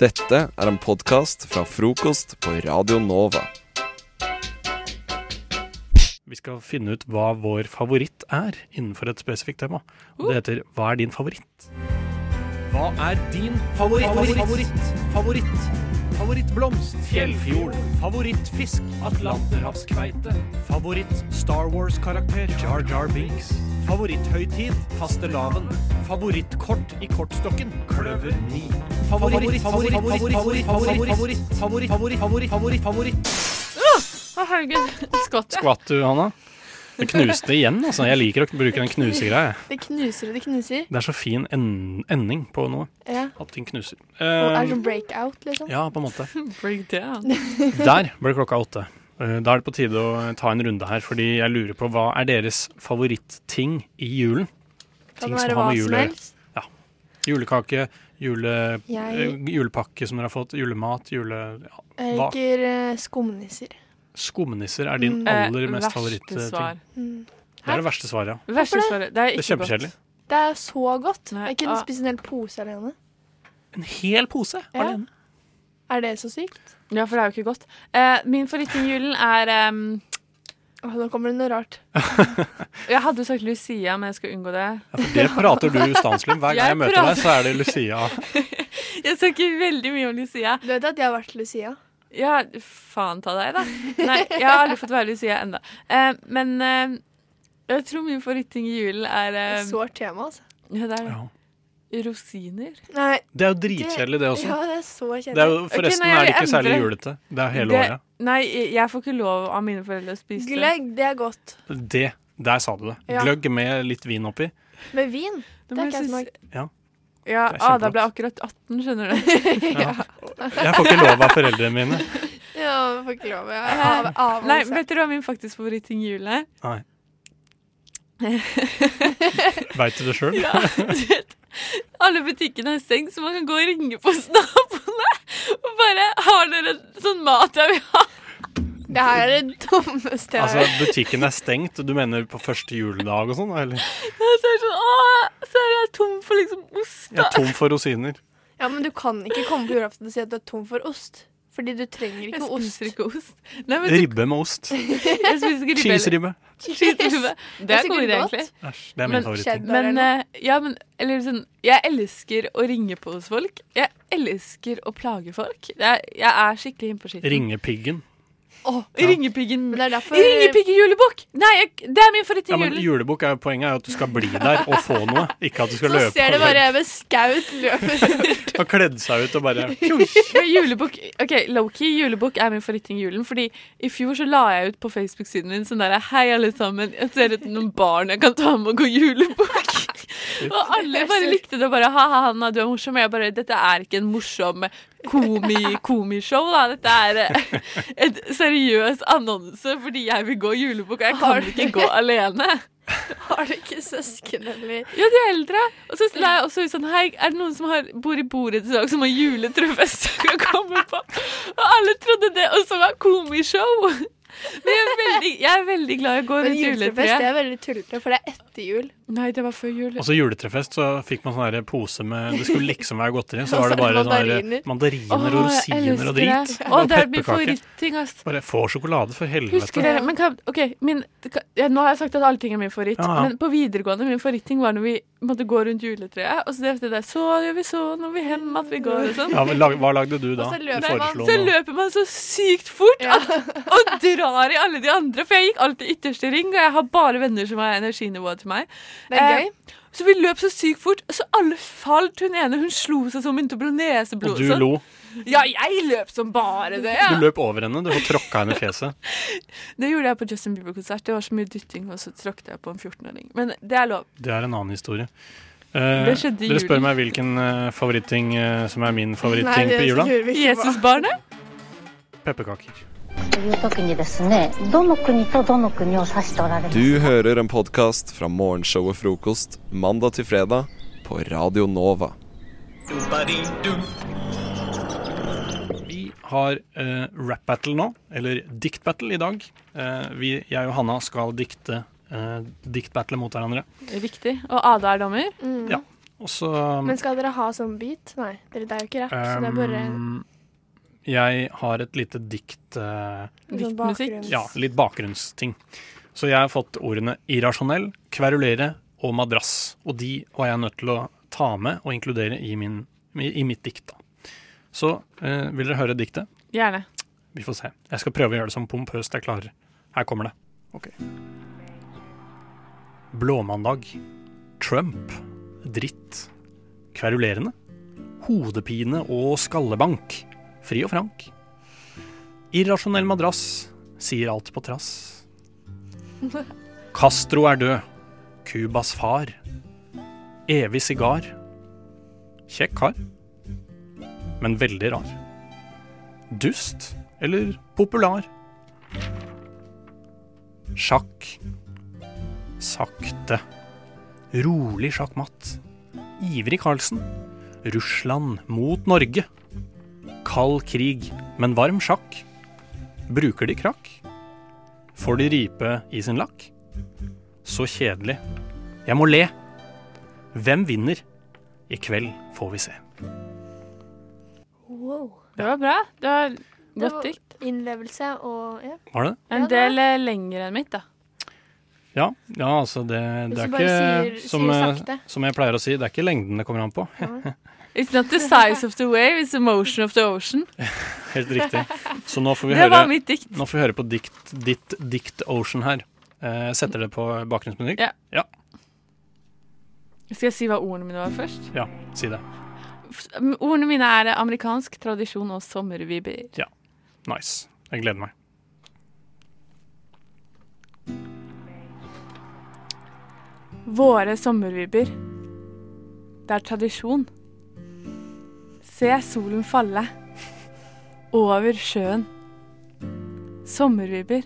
Dette er en podkast fra frokost på Radio Nova. Vi skal finne ut hva vår favoritt er innenfor et spesifikt tema. Og det heter Hva er din favoritt? Hva er din favoritt? Favoritt, favoritt, favoritt. Favorittblomst. Fjellfjord. Favorittfisk. Atlanterhavskveite. Favoritt Star Wars-karakter. Jar Jar Binks. Favoritthøytid. Fastelavn. Favorittkort i kortstokken. Kløver 9. Favoritt, favoritt, favoritt, favoritt, favoritt, favoritt, favoritt, favoritt, favoritt, favoritt, favoritt. Å, herregud. Skvatt. Skvatt du, Hanna? Det knuste igjen, altså. Jeg liker å bruke den knusegreia. jeg. Det knuser og det knuser. Det er så fin en ending på noe. Ja. At ting knuser. Og er Eh, det sånn breakout, liksom. ja, på en måte. Break down. Eh, Der ble klokka åtte. Eh, Da er det på tide å ta en runde her, fordi jeg lurer på hva er deres favoritting i julen? Kan ting det som være har hva som med jule- helst? Julekake, jule, eh, Jeg julepakke som dere har fått, julemat, jule... Ja. jeg hva? liker eh, skumnisser. Skumnisser er din Mm. aller Eh, mest verste favorittting. svar. Mm. Det er det verste svaret, ja. Verste det? svaret. Det er Det er ikke godt. kjempekjedelig. Det er så godt. Nei, Jeg kunne ah. spise en hel pose alene. En hel pose Ja. alene. Er det så sykt? Ja, for det er jo ikke godt. Eh, min favoritting i julen er ehm, Åh, nå kommer det noe rart. Jeg hadde jo sagt Lucia, men jeg skal unngå det. Ja, for det prater du ustanselig om. Hver gang Jeg jeg møter deg, så er det Lucia. Jeg snakker veldig mye om Lucia. Du vet at jeg har vært Lucia? Ja, faen ta deg, da. Nei, jeg har aldri fått være Lucia enda. Eh, men eh, jeg tror min favoritting i julen er Det er et eh, Sårt tema, altså. ja, det er Ja. rosiner. Nei, Det er jo dritkjedelig, det også. ja, det er så Det er kjedelig. jo, forresten nei, er det ikke jeg særlig endrer- julete. Det er hele Det- året. Nei, jeg jeg får ikke lov av mine foreldre å spise det. Gløgg, det er godt. Det, Der sa du det. Ja. Gløgg med litt vin oppi. Med vin. Det Det er ikke jeg som har Ja, Det er Ada kjempegodt. ble akkurat 18, skjønner du. Jeg får ikke lov av foreldrene mine. Ja, jeg får ikke lov. Jeg har Eh, Nei, avholdelse. vet dere hva min faktisk favoritting i julen er? Nei. Veit du det sjøl? Ja, du vet, alle butikkene er stengt, så man kan gå og ringe på hos naboene. Og bare Har dere sånn mat jeg vil ha? Det her er det dummeste jeg har Altså, hørt. butikken er stengt. Du mener på første juledag og sånn? Eller? Og så er det sånn Å, så er jeg tom for liksom ost. Jeg er tom for rosiner. Ja, men du kan ikke komme på julaften og si at du er tom for ost. Fordi du trenger Jeg ikke ost. spiser ikke ost. Nei, men så, Ribbe med ost. jeg spiser ikke ribbe. eller- Cheeseribbe. Cheeseribbe. Det er sikkert god idé, godt. egentlig. Æsj. Det er Men min favoritting. Men, eh, ja, men eller sånn, jeg elsker å ringe på hos folk. Jeg elsker å plage folk. Jeg, jeg er skikkelig innpåskitten. Ringepiggen. Å, Ja. Ringepiggen. Men det er derfor Ringepiggen-julebukk! Nei, jeg, det er min Ja, favorittting i men julen. julebukk er jo poenget er jo at du skal bli der og få noe. Ikke at du skal Nå løpe ser det og- bare jeg med skaut løper. og kledd seg ut og bare Pjosj. Men julebok, ok, Low-key julebok er min favoritting i julen. Fordi i fjor så la jeg ut på Facebook-siden min sånn der Hei, alle sammen. Jeg ser etter noen barn jeg kan ta med og gå julebok. og alle bare likte det. og Bare ha-ha, Hanna, du er morsom. Og jeg bare Dette er ikke en morsom komi komishow, da. Dette er eh, et seriøs annonse fordi jeg vil gå julebok, og jeg Har kan du- ikke gå alene. Har du ikke søsken eller Ja, de er eldre. Og så la jeg også ut sånn Hei, er det noen som har, bor i bordet i dag som har juletrefest jeg kan komme på? Og alle trodde det også var komishow. Men jeg er veldig, jeg er veldig glad jeg går Men rundt juletrefest det juletreet. er veldig tullete, for det er etter jul. Nei, det var før jul. Og så Altså, juletrefest, så fikk man sånn her pose med Det skulle liksom være godteri, så Og var det så bare sånn mandariner. her mandariner og Åh, jeg rosiner og elsker drit. det. Å, det er min pepperkaker. favoritting, ass. Bare få sjokolade, for Husker helvete. dere men hva, Ok, min, ja, nå har jeg sagt at alle ting er min favoritt, Ja, ja. men på videregående min favoritting var når vi måtte gå rundt juletreet, og så drev det der Så gjør vi sånn, og vi hjem at vi går, og sånn. Ja, men lag, hva lagde du da? Og så Du løper man. foreslo Så noe. løper man så sykt fort Ja. at, og drar i alle de andre. For jeg gikk alltid i ytterste ring, og jeg har bare venner som har energinivået til meg. Eh, Det er gøy. Så vi løp så sykt fort, og så alle falt. Hun ene hun slo seg som hun begynte å blå Og neseblod. du sånn. lo. Ja, jeg løp som bare det. Ja. Du løp over henne. Du får tråkka henne i fjeset. Det gjorde jeg på Justin Bieber-konsert. Det var så mye dytting, og så tråkket jeg på en 14-åring. Men det er lov. Det er en annen historie. Eh, Det skjedde i dere spør julen. meg hvilken eh, favoritting eh, som er min favoritting det på jula. lurer vi ikke på. Jesusbarnet? Pepperkaker. という時にですねどの国とどの国を指しておられます Du hører en podkast fra morgenshowet Frokost mandag til fredag på Radio Nova. Vi har eh, rap battle nå, eller dikt battle i dag. Eh, vi, jeg og Hanna skal dikte eh, dikt battle mot hverandre. Riktig. Og Ada er dommer. Mm. Ja. Og så Men skal dere ha sånn bit? Nei, dere, det er jo ikke rapp, så det er bare ehm, Jeg har et lite dikt eh, sånn diktmusikk. bakgrunns... Ja, litt bakgrunnsting. Så jeg har fått ordene irrasjonell, kverulere og madrass. Og de var jeg nødt til å ta med og inkludere i, min, i, i mitt dikt. Da. Så eh, vil dere høre diktet? Gjerne. Vi får se. Jeg skal prøve å gjøre det så pompøst jeg klarer. Her kommer det. Ok. Blåmandag. Trump. Dritt. Kverulerende. Hodepine og skallebank. Fri og frank. Irrasjonell madrass. Sier alt på trass. Castro er død. Cubas far. Evig sigar. Kjekk kar. Men veldig rar. Dust eller popular? Sjakk. Sakte. Rolig sjakkmatt. Ivrig Carlsen. Russland mot Norge. Kald krig, men varm sjakk. Bruker de krakk? Får de ripe i sin lakk? Så kjedelig. Jeg må le. Hvem vinner? I kveld får vi se. Wow. Det var bra. Det var Det godt var dikt. Innlevelse og ja. Var det det? En Ja, det var- del eh, lenger enn mitt, da. Ja, ja altså det, Hvis det er du ikke bare sier- som, sier eh, sakte. som jeg pleier å si, det er ikke lengden det kommer an på. It's not the size of the wave, it's the motion of the ocean. Helt riktig. Så nå får vi Det var høre, mitt dikt. nå får vi høre på dikt, ditt dikt Ocean her. Eh, Jeg setter det på bakgrunnsmusikk? Ja. Skal jeg si hva ordene mine var først? Ja, si det. F- Ordene mine er amerikansk tradisjon og sommervibber. Nice. Jeg gleder meg. Våre sommervibber. Det er tradisjon. Se solen falle. Over sjøen. Sommervibber.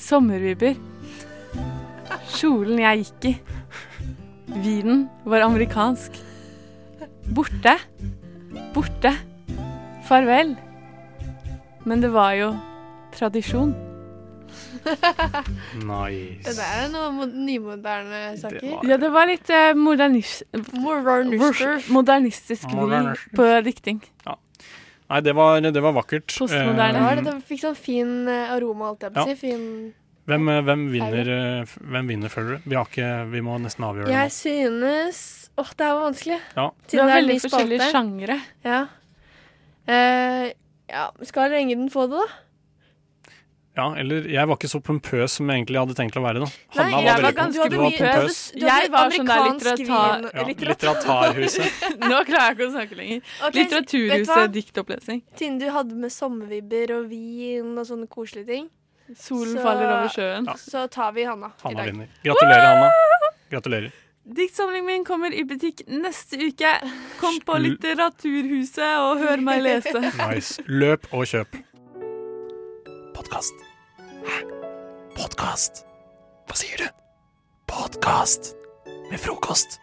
Sommervibber. Kjolen jeg gikk i. Vinen var amerikansk. Borte. Borte. Farvel. Men det var jo tradisjon. Det Nice. der er noen mo- nymoderne saker. var- Ja, det var litt eh, modernis Modernister. modernistisk vri Modernistisk. på dikting. Nei, det var, det var vakkert. Postmoderne. Det Eh, var det, det fikk sånn fin eh, aroma, holdt jeg på å Ja. si. Fin Hvem, eh, hvem, vinner, eh, f- hvem vinner, føler du? Vi, har ikke, vi må nesten avgjøre det. Jeg synes Åh, det her var vanskelig. Ja. Det en var ny veldig forskjellige spalte. sjangere. Ja. Eh, ja. Skal Engeden få det, da? nå. Ja, eller jeg var ikke så pompøs som jeg egentlig hadde tenkt å være. da. jeg Hanna var var veldig ganske pompøs. Du var mye- pompøs. Du hadde Jeg var sånn der amerikansk litteratar- vin- Ja, litteratur. litteraturhuset. Nå klarer jeg ikke å snakke lenger. Ok, vet du hva? Litteraturhuset, diktopplesning. Siden du hadde med sommervibber og vin og sånne koselige ting, Solen Så- faller over sjøen. Ja. så tar vi Hanna i Hanna dag. vinner. Gratulerer, Hanna. Gratulerer. Diktsamlingen min kommer i butikk neste uke. Kom på Litteraturhuset og hør meg lese. Nice. Løp og kjøp. Podkast. Hæ? Podkast? Hva sier du? Podkast med frokost.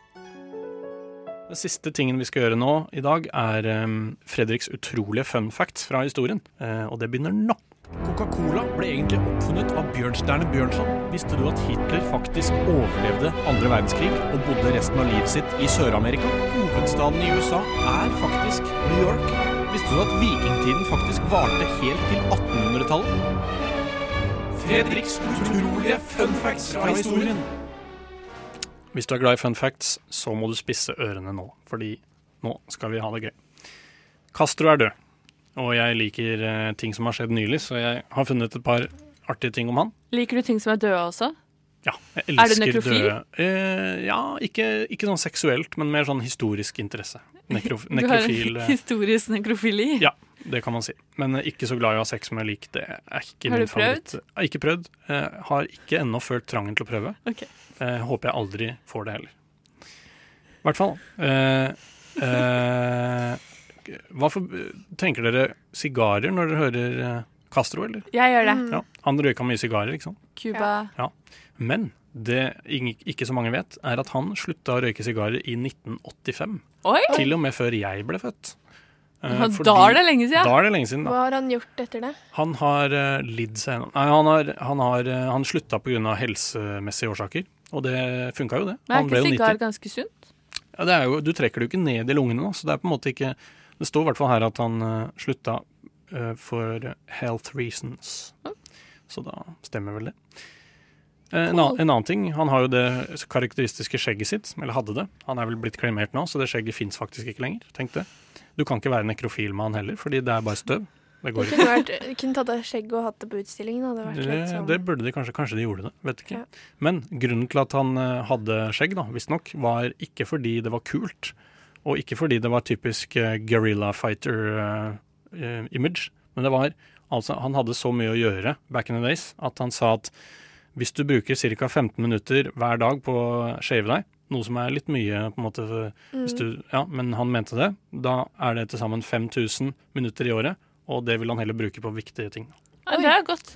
Den siste tingen vi skal gjøre nå i dag, er em, Fredriks utrolige fun facts fra historien. Eh, og det begynner nå. Coca-Cola ble egentlig oppfunnet av Bjørnstjerne Bjørnson. Visste du at Hitler faktisk overlevde andre verdenskrig og bodde resten av livet sitt i Sør-Amerika? Hovedstaden i USA er faktisk New York. Visste du at vikingtiden faktisk varte helt til 1800-tallet? Fredriks utrolige fun facts fra historien. Hvis du er glad i fun facts, så må du spisse ørene nå, fordi nå skal vi ha det gøy. Castro er død, og jeg liker eh, ting som har skjedd nylig, så jeg har funnet et par artige ting om han. Liker du ting som er døde også? Ja, jeg Er du elsker nekrofil? døde. Eh, ja, ikke, ikke sånn seksuelt, men mer sånn historisk interesse. Nekrof Du har nekrofil, eh, historisk nekrofili. Ja. det kan man si. Men eh, ikke så glad i å ha sex med lik, det er ikke Har du min favoritt. Har Ikke prøvd. Eh, har ikke ennå følt trangen til å prøve. Ok. Eh, håper jeg aldri får det heller. I hvert fall. eh, eh, hva for, tenker dere sigarer når dere hører eh, Castro, eller? Jeg gjør det. Ja, han røyka mye sigarer, ikke sant? Cuba. Men det ing- ikke så mange vet, er at han slutta å røyke sigarer i 1985. Oi! Til og med før jeg ble født. Eh, Ja, fordi- Da er det lenge siden. da er det lenge siden, da. Hva har han gjort etter det? Han har eh, lidd seg gjennom Nei, han, har, han, har, eh, han slutta pga. helsemessige årsaker. Og det funka jo, det. Men Han er ble ikke jo sigar 90. ganske sunt? Ja, det er jo, du trekker det jo ikke ned i lungene nå, så det er på en måte ikke Det står i hvert fall her at han eh, slutta eh, for health reasons. Så da stemmer vel det. Eh, en, annen, en annen ting, han har jo det karakteristiske skjegget sitt, eller hadde det. Han er vel blitt kremert nå, så det skjegget fins faktisk ikke lenger. Tenk det. Du kan ikke være nekrofil med han heller, fordi det er bare støv. Det går ikke. Kunne, vært, kunne tatt av skjegget og hatt det på utstillingen. Hadde vært Det, litt sånn. det burde de kanskje. Kanskje de gjorde det. Vet ikke. Ja. Men grunnen til at han eh, hadde skjegg, da, visstnok, var ikke fordi det var kult, og ikke fordi det var typisk eh, guerrilla fighter-image, men det var altså Han hadde så mye å gjøre back in the days at han sa at hvis du bruker ca. 15 minutter hver dag på å shave deg, noe som er litt mye, på en måte, Mm. hvis du, ja, men han mente det, da er det til sammen 5000 minutter i året, og det vil han heller bruke på viktige ting. Ja, det er godt.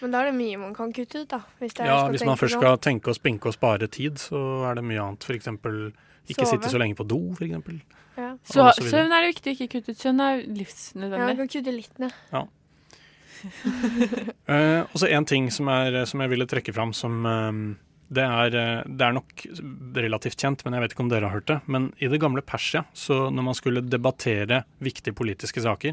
Men da er det mye man kan kutte ut, da. Hvis det er Ja, skal hvis man tenke først sånn. skal tenke og spinke og spare tid, så er det mye annet. For eksempel ikke Sove. sitte så lenge på do, for eksempel. Ja. Så, Og så videre. søvn er det viktig. Ikke kutt ut søvn. er ja, man livsnødvendig. kan kutte litt ned. Eh, og så en ting som, er, som jeg ville trekke fram som eh, det, er, eh, det er nok relativt kjent, men jeg vet ikke om dere har hørt det. Men i det gamle Persia, så når man skulle debattere viktige politiske saker,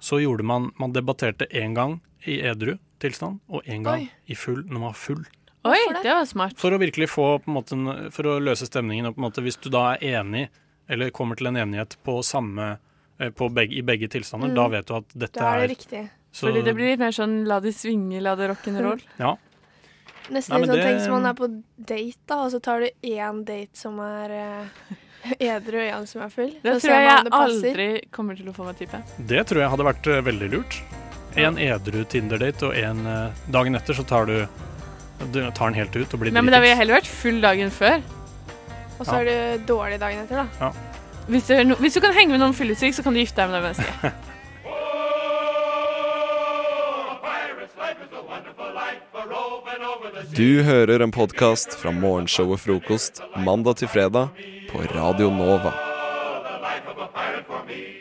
så gjorde man Man debatterte én gang i edru tilstand, og én gang Oi. i full når man var full. Oi, Hvorfor det? det var smart. For å virkelig få på en måte, en- For å løse stemningen og på en måte Hvis du da er enig Eller kommer til en enighet på samme eh, på begge, I begge tilstander Mm. Da vet du at dette Da er er, det riktig. så, Fordi det blir litt mer sånn la det svinge, la det rock'n'roll. Ja, Nesten Nei, litt men sånn det- tenk som man er på date, da, og så tar du én date som er eh, edru, og én som er full. Det Så ser tror jeg man om jeg det passer. aldri kommer til å få meg type. det tror jeg hadde vært eh, veldig lurt En edru Tinder-date Og en eh, dagen etter så tar du Du tar den helt ut og blir Nei, men Da ville jeg dritings. heller vært full dagen før. Og så er du dårlig dagen etter, da. Hvis du, no, hvis du kan henge med noen fyllesyk, så kan du gifte deg med det mennesket. Du hører en podkast fra morgenshow og frokost mandag til fredag på Radio Nova.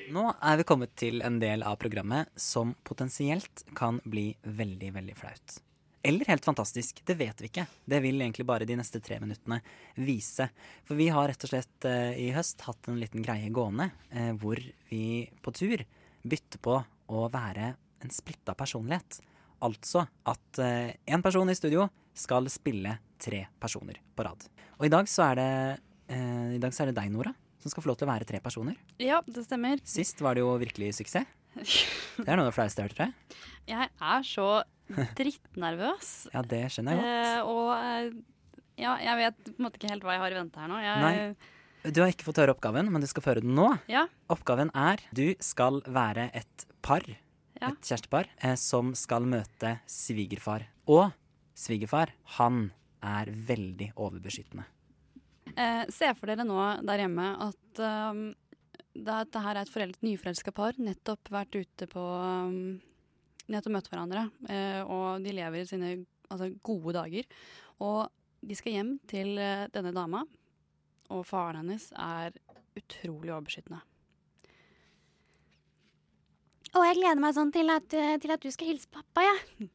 Nå er vi kommet til en del av programmet som potensielt kan bli veldig, veldig flaut. Eller helt fantastisk. Det vet vi ikke. Det vil egentlig bare de neste tre minuttene vise. For vi har rett og slett eh, i høst hatt en liten greie gående eh, hvor vi på tur bytter på å være en splitta personlighet. Altså at én person i studio skal spille tre personer på rad. Og i dag så er det, eh, i dag så er det deg, Nora, som skal få lov til å være tre personer. Ja, det stemmer. Sist var det jo virkelig suksess. Det er noe av det flaueste jeg har hørt, tror jeg. Jeg er så drittnervøs. Ja, det skjønner jeg godt. Eh, og eh, ja, jeg vet på en måte ikke helt hva jeg har i vente her nå. Eh, Jeg, Nei. Du har ikke fått høre oppgaven, men du skal få høre den nå. Ja. Oppgaven er du skal være et par, Ja. et kjærestepar, eh, som skal møte svigerfar. Og svigerfar, han er veldig overbeskyttende. Eh, se for dere nå der hjemme at um, det, er- det her er et foreldet nyforelska par. Nettopp vært ute på um, Nettopp møtt hverandre. Eh, og de lever sine altså, gode dager. Og de skal hjem til eh, denne dama, og faren hennes er utrolig overbeskyttende. Og jeg gleder meg sånn til at, eh, til at du skal hilse pappa, jeg.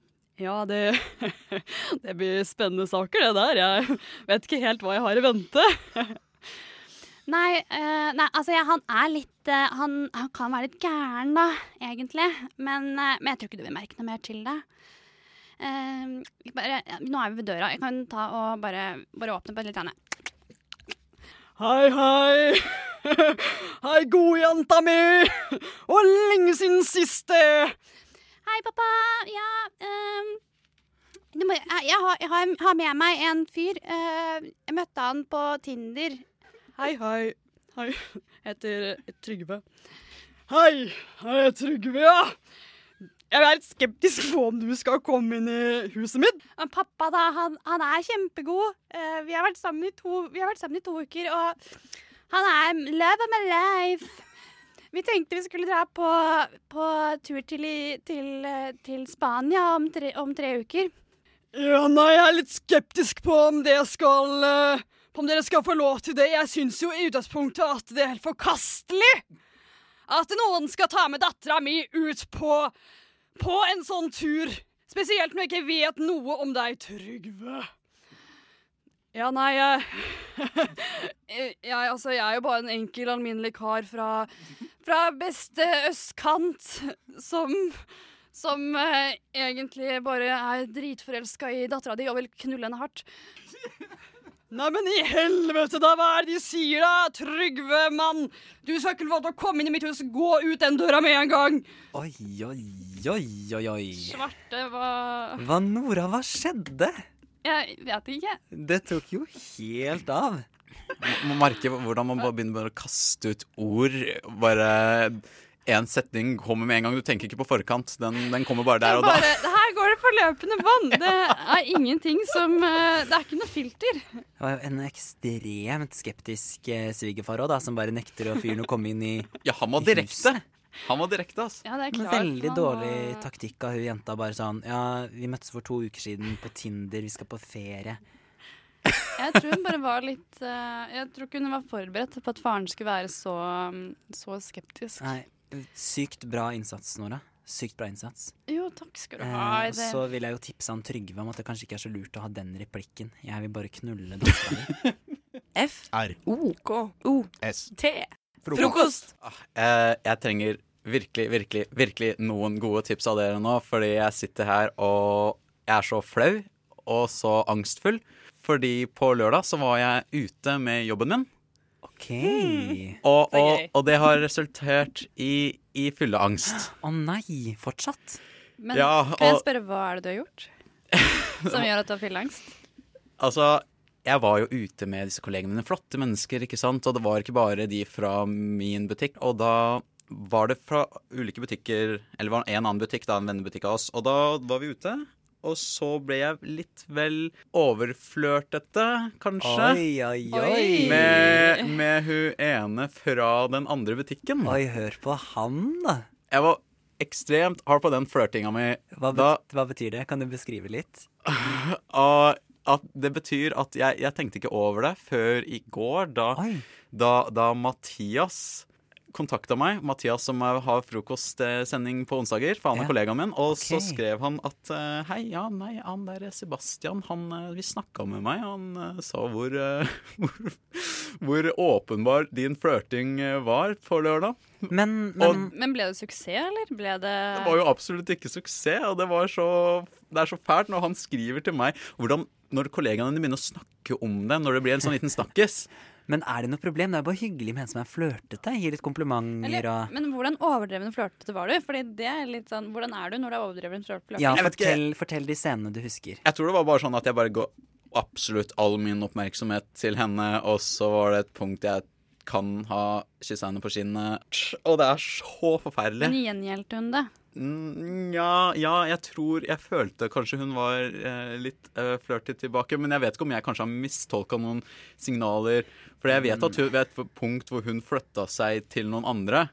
Ja, det, det blir spennende saker, det der. Jeg vet ikke helt hva jeg har i vente. Nei, eh, nei altså jeg, han er litt eh, han, han kan være litt gæren, da, egentlig. Men, eh, men jeg tror ikke du vil merke noe mer til det. Eh, bare, ja, nå er vi ved døra. Jeg kan ta og bare, bare åpne på et litt annet. Hei, hei! Hei, godjenta mi! Og lenge siden eh. siste! Hei, pappa. Ja ehm, du må, jeg, jeg, har, jeg har, har med meg en fyr. Eh, jeg møtte han på Tinder. Hei, hei. Hei. Jeg heter Trygve. Hei, hei, jeg er Trygve, ja. Jeg er litt skeptisk på om du skal komme inn i huset mitt. Og pappa, da, han, han er kjempegod. Eh, vi, har vært sammen i to, vi har vært sammen i to uker, og han er love of my life. Vi tenkte vi skulle dra på, på tur til, i- til, eh, til Spania om tre, om tre uker. Ja, nei, jeg er litt skeptisk på om det skal eh, På om dere skal få lov til det. Jeg syns jo i utgangspunktet at det er helt forkastelig at noen skal ta med dattera mi ut på På en sånn tur. Spesielt når jeg ikke vet noe om deg, Trygve. Ja, nei, jeg, jeg, altså, jeg er jo bare en enkel, alminnelig kar fra, fra beste østkant som, som eh, egentlig bare er dritforelska i dattera di og vil knulle henne hardt. Nei, men i helvete, da! Hva er det de sier, da? Trygve, mann! Du skal ikke få lov til å komme inn i mitt hus! Gå ut den døra med en gang! Oi, oi, oi, oi, oi. Svarte, hva Hva, Nora, hva skjedde? Jeg vet ikke. Det tok jo helt av. Man merker hvordan man bare begynner bare å kaste ut ord. Bare én setning kommer med en gang. Du tenker ikke på forkant. Den, den kommer bare der og da. Bare, her går det på løpende bånd. Det er ingenting som eh, Det er ikke noe filter. Det var jo en ekstremt skeptisk eh, svigerfar òg, som bare nekter å fyren å komme inn i Ja, han var i direkte. huset. Han var direkte, ass. Ja, det er Men klart. veldig man, dårlig eh, taktikk av hun jenta. Bare sånn Ja, vi møttes for to uker siden på Tinder, vi skal på ferie. Jeg tror hun bare var litt eh, Jeg tror ikke hun var forberedt på at faren skulle være så, mm, så skeptisk. Nei, sykt bra innsats, Nora. Sykt bra innsats. Jo, takk skal du ha. Eh, og Det, så vil jeg jo tipse han Trygve om at det kanskje ikke er så lurt å ha den replikken. Jeg vil bare knulle dattera di. F-O-K-O-S-T. Frokost! Eh, jeg trenger virkelig, virkelig, virkelig noen gode tips av dere nå, fordi jeg sitter her og jeg er så flau og så angstfull. Fordi på lørdag så var jeg ute med jobben min, OK. og, Det er og, gøy. og det har resultert i, i fylleangst. Å nei, fortsatt? men ja, kan jeg og- spørre, hva er det du har gjort? Som gjør at du har fylleangst? Altså, jeg var jo ute med disse kollegene mine, flotte mennesker, ikke sant? Og det var ikke bare de fra min butikk. Og da var det fra ulike butikker, eller var det en annen butikk, da, en vennebutikk av oss. Og da var vi ute, og så ble jeg litt vel overflørtete, kanskje. Oi, oi, Oi. oi. Med, med hun ene fra den andre butikken. Oi, hør på han, da. Jeg var ekstremt hard på den flørtinga mi. Hva, bet, Da- hva betyr det? Kan du beskrive litt? Og at det betyr at jeg, jeg tenkte ikke over det før i går, da Oi. da, da Mathias kontakta meg, Mathias som er- har frokostsending på onsdager, for han er Ja. kollegaen min, og så Ok. skrev han at eh, hei, ja, nei, han der Sebastian, han eh, vi snakka med meg, han eh, sa hvor, eh, hvor, hvor åpenbar din flørting eh, var på lørdag. Men, men Men ble det suksess, eller? Ble det Det var jo absolutt ikke suksess, og det, var så, det er så fælt når han skriver til meg hvordan når kollegaene dine begynner å snakke om det, når det blir en sånn liten snakkis. Men er det noe problem? Det er bare hyggelig med en som er flørtete. Gi litt komplimenter eller, og men hvordan overdreven flørtete var du? Fordi det er litt sånn, Hvordan er du når du er overdreven flørtete? Ja, Jeg vet ikke. fortell, fortell de scenene du husker. Jeg tror det var bare sånn at jeg bare ga absolutt all min oppmerksomhet til henne, og så var det et punkt jeg kan ha kyssa henne på kinnet. Og det er så Men forferdelig. gjengjeldte hun det? Nja, ja, jeg tror Jeg følte kanskje hun var eh, litt eh, flørtig tilbake, men jeg vet ikke om jeg kanskje har mistolka noen signaler. For jeg vet at hun ved et punkt hvor hun flytta seg til noen andre.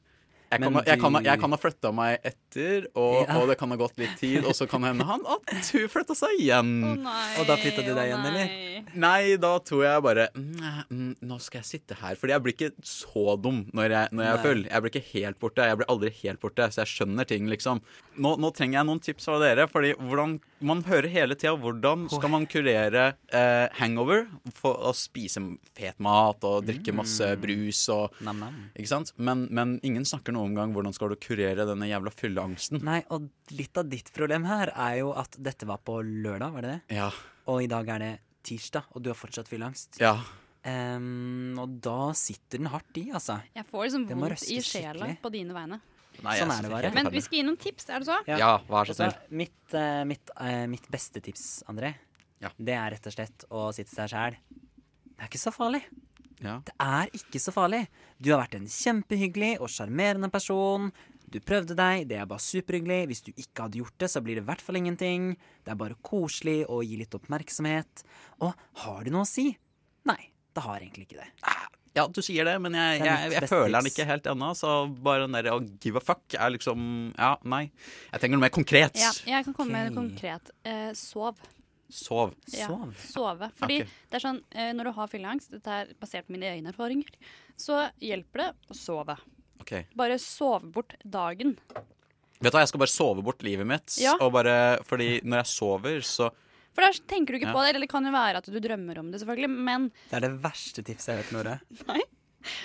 Jeg kan, Men ha- jeg, kan, ha- du- jeg kan ha flytta meg etter, og, Ja. og det kan ha gått litt tid, og så kan det hende han at hun flytta seg igjen. nei, Og da flyttet du deg igjen, eller? Nei, da tror jeg bare "Nei, mm, Nå skal jeg sitte her. Fordi jeg blir ikke så dum når jeg, når jeg er full. Jeg blir ikke helt borte. Jeg blir aldri helt borte, så jeg skjønner ting, liksom. Nå, nå trenger jeg noen tips fra dere. Fordi hvordan, Man hører hele tida hvordan skal man kurere eh, hangover? For å spise fet mat og drikke masse brus og Nam-nam. Ikke sant? Men, men ingen snakker noe om gang hvordan skal du kurere denne jævla fylleangsten. Nei, og litt av ditt problem her er jo at dette var på lørdag, var det det? Ja. Og i dag er det tirsdag, og du har fortsatt fylleangst. ja. Ehm, og da sitter den hardt i, altså. Jeg får liksom Det må vondt i røstes sjela skikkelig. på dine vegne. Nei, Sånn jeg er det synes bare. helt Men forferdelig. vi skal gi noen tips, er det så? Ja. Ja, vær så Altså, snill. mitt, eh, mitt, eh, mitt beste tips, André, Ja. det er rett og slett å sitte seg sjæl. Det er ikke så farlig. Ja. Det er ikke så farlig. Du har vært en kjempehyggelig og sjarmerende person. Du prøvde deg, det er bare superhyggelig. Hvis du ikke hadde gjort det, så blir det i hvert fall ingenting. Det er bare koselig å gi litt oppmerksomhet. Og har det noe å si? Nei, det har egentlig ikke det. Ah. Ja, du sier det, men jeg, Det er jeg, mitt jeg beste føler den tips. ikke helt ennå. Så bare den der å give a fuck er liksom Ja, nei. Jeg trenger noe mer konkret. Ja, jeg kan komme med Ok. noe konkret. Eh, sov. Sov. Ja. Sov. Sove. Fordi Ok. det er sånn, eh, når du har fylleangst, dette er basert på mine egne erfaringer, så hjelper det å sove. OK. Bare sove bort dagen. Vet du hva, jeg skal bare sove bort livet mitt. Ja. Og bare, fordi når jeg sover, så For da tenker du ikke Ja. på det, eller det kan jo være at du drømmer om det, selvfølgelig, men Det er det verste tipset jeg har hørt, Nora.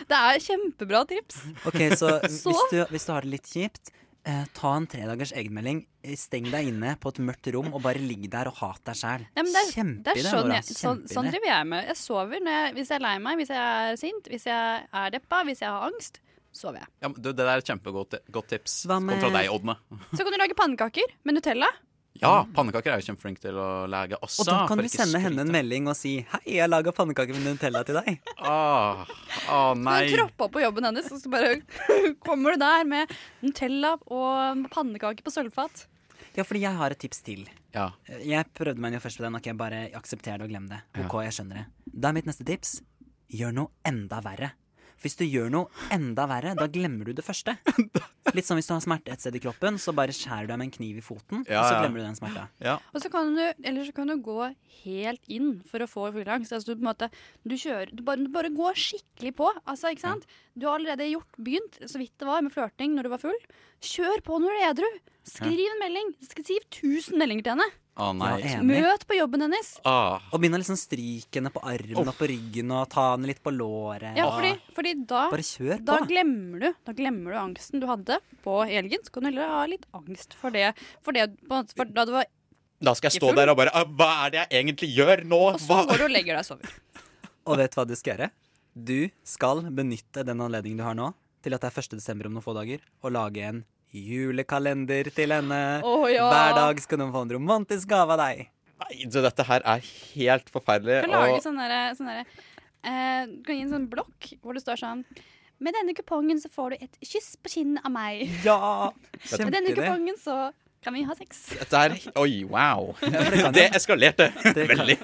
det er kjempebra tips. Ok, så Så? hvis du, hvis du har det litt kjipt, eh, ta en tredagers egenmelding. eh, Steng deg inne på et mørkt rom og bare ligg der og hat deg sjæl. Ja, men det, er, det er Kjempeidé, sånn, Nora. jeg, sånn, sånn Kjempeidé. driver jeg med. Jeg sover når jeg, hvis jeg er lei meg, hvis jeg er sint, hvis jeg er deppa, hvis jeg har angst. Sover jeg. Ja, men du, det der er et kjempegodt godt tips. Hva med- Kom fra deg, Ådne. Så kan du lage pannekaker med Nutella. Ja, pannekaker er jo kjempeflink til å lage Og også. da kan for du ikke sende henne en skryte. melding og si 'Hei, jeg laga pannekaker med Nutella til deg'. Åh, åh, Nei. Ah, nei. Du troppa på jobben hennes, og så bare kommer du der med Nutella og pannekaker på sølvfat. Ja, fordi jeg har et tips til. Eh, Ja. Jeg prøvde meg jo først på den. Ok, bare aksepter det og glem det. Ok, jeg skjønner det. Da er mitt neste tips gjør noe enda verre. For Hvis du gjør noe enda verre, da glemmer du det første. Litt som hvis du har smerte et sted i kroppen, så bare skjærer du deg med en kniv i foten, Ja, og så ja. glemmer du den smerta. Og så kan du, eller så kan du gå helt inn for å få fylleangst. Altså du på en måte, du kjører, du bare, du bare går skikkelig på. Altså, ikke sant? Du har allerede gjort, begynt, så vidt det var, med flørting når du var full. Kjør på når du er edru. Skriv en melding. Skriv 1000 meldinger til henne. Å nei. Ja, enig. Møt på jobben hennes. Åh, Og begynne å liksom stryke henne på armen og på ryggen og ta henne litt på låret. Ja, fordi, fordi da, Bare kjør da, på. glemmer du, da glemmer du angsten du hadde på helgen. Så kan du heller ha litt angst for det, for det på en måte- for da du var da skal jeg I stå full- der og bare «Ah, Hva er det jeg egentlig gjør nå? Og så Hva? går Ah. du og legger deg og sover. Og vet du hva du skal gjøre? Du skal benytte den anledningen du har nå, til at det er 1. desember om noen få dager, og lage en julekalender til henne. Å, ja. Hver dag skal hun få en romantisk gave av deg. Nei, du, dette her er helt forferdelig. kan lage Og sånn derre sånn derre, eh, Du kan gi en sånn blokk hvor det står sånn Med denne kupongen så får du et kyss på kinnet av meg. Ja! Med denne Kjempeidé. kupongen så kan vi ha sex. dette her Oi, wow. det kan Det eskalerte Det kan- veldig.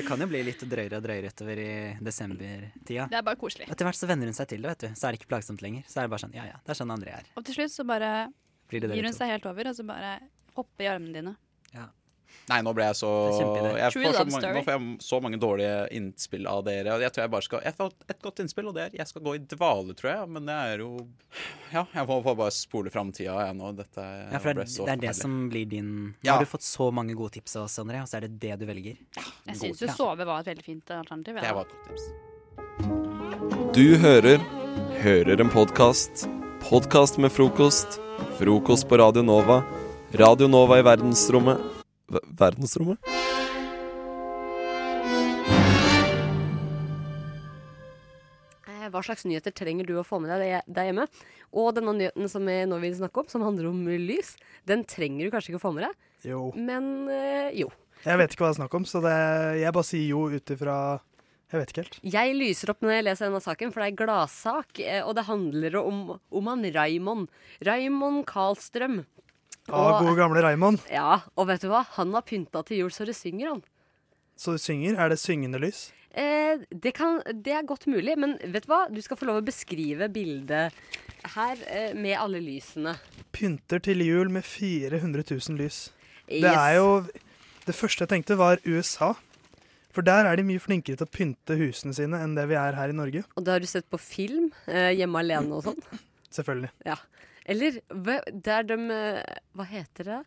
Det kan jo bli litt drøyere og drøyere utover i desembertida. Det er bare koselig. Etter hvert så venner hun seg til det, vet du. Så er det ikke plagsomt lenger. Så er det bare sånn, ja ja, det er sånn André er. Og til slutt så bare Blir det gir dere hun to. seg helt over, og så bare hopper i armene dine. Nei, nå ble jeg så Det er kjempeidé. jeg True får så love mange, story. Nå får jeg så mange dårlige innspill av dere. og Jeg tror jeg bare skal Jeg får et godt innspill, og det er jeg skal gå i dvale, tror jeg. Men det er jo Ja, jeg må bare spole framtida, jeg nå. Dette Ja, for det ble er, så det er det forferdelig. som blir din Nå Ja. har du fått så mange gode tips av oss, André, og så er det det du velger. Jeg God- syns jo Ja. sove var et veldig fint alternativ. Det Ja. var et godt tips. Du hører Hører en podkast. Podkast med frokost. Frokost på Radio Nova. Radio Nova i verdensrommet Ver- Verdensrommet? Eh, Hva slags nyheter trenger du å få med deg der- der hjemme? Og denne nyheten som jeg nå vil snakke om, som handler om lys, den trenger du kanskje ikke å få med deg, Jo. men eh, jo. Jeg vet ikke hva det er snakk om, så det, jeg bare sier jo ut ifra Jeg vet ikke helt. Jeg lyser opp når jeg leser denne saken, for det er en gladsak, eh, og det handler om, om han Raimond. Raimond Karlstrøm. Ah, gode gamle Raymond. Ja, og vet du hva? Han har pynta til jul, så det synger han. Så du synger? Er det syngende lys? Eh, det, kan, det er godt mulig, men vet du hva? Du skal få lov å beskrive bildet her eh, med alle lysene. Pynter til jul med 400 000 lys. Det Yes. er jo Det første jeg tenkte, var USA. For der er de mye flinkere til å pynte husene sine enn det vi er her i Norge. Og det har du sett på film, eh, hjemme alene og sånn. Selvfølgelig. Ja. Eller hva- det er de eh, Hva heter det?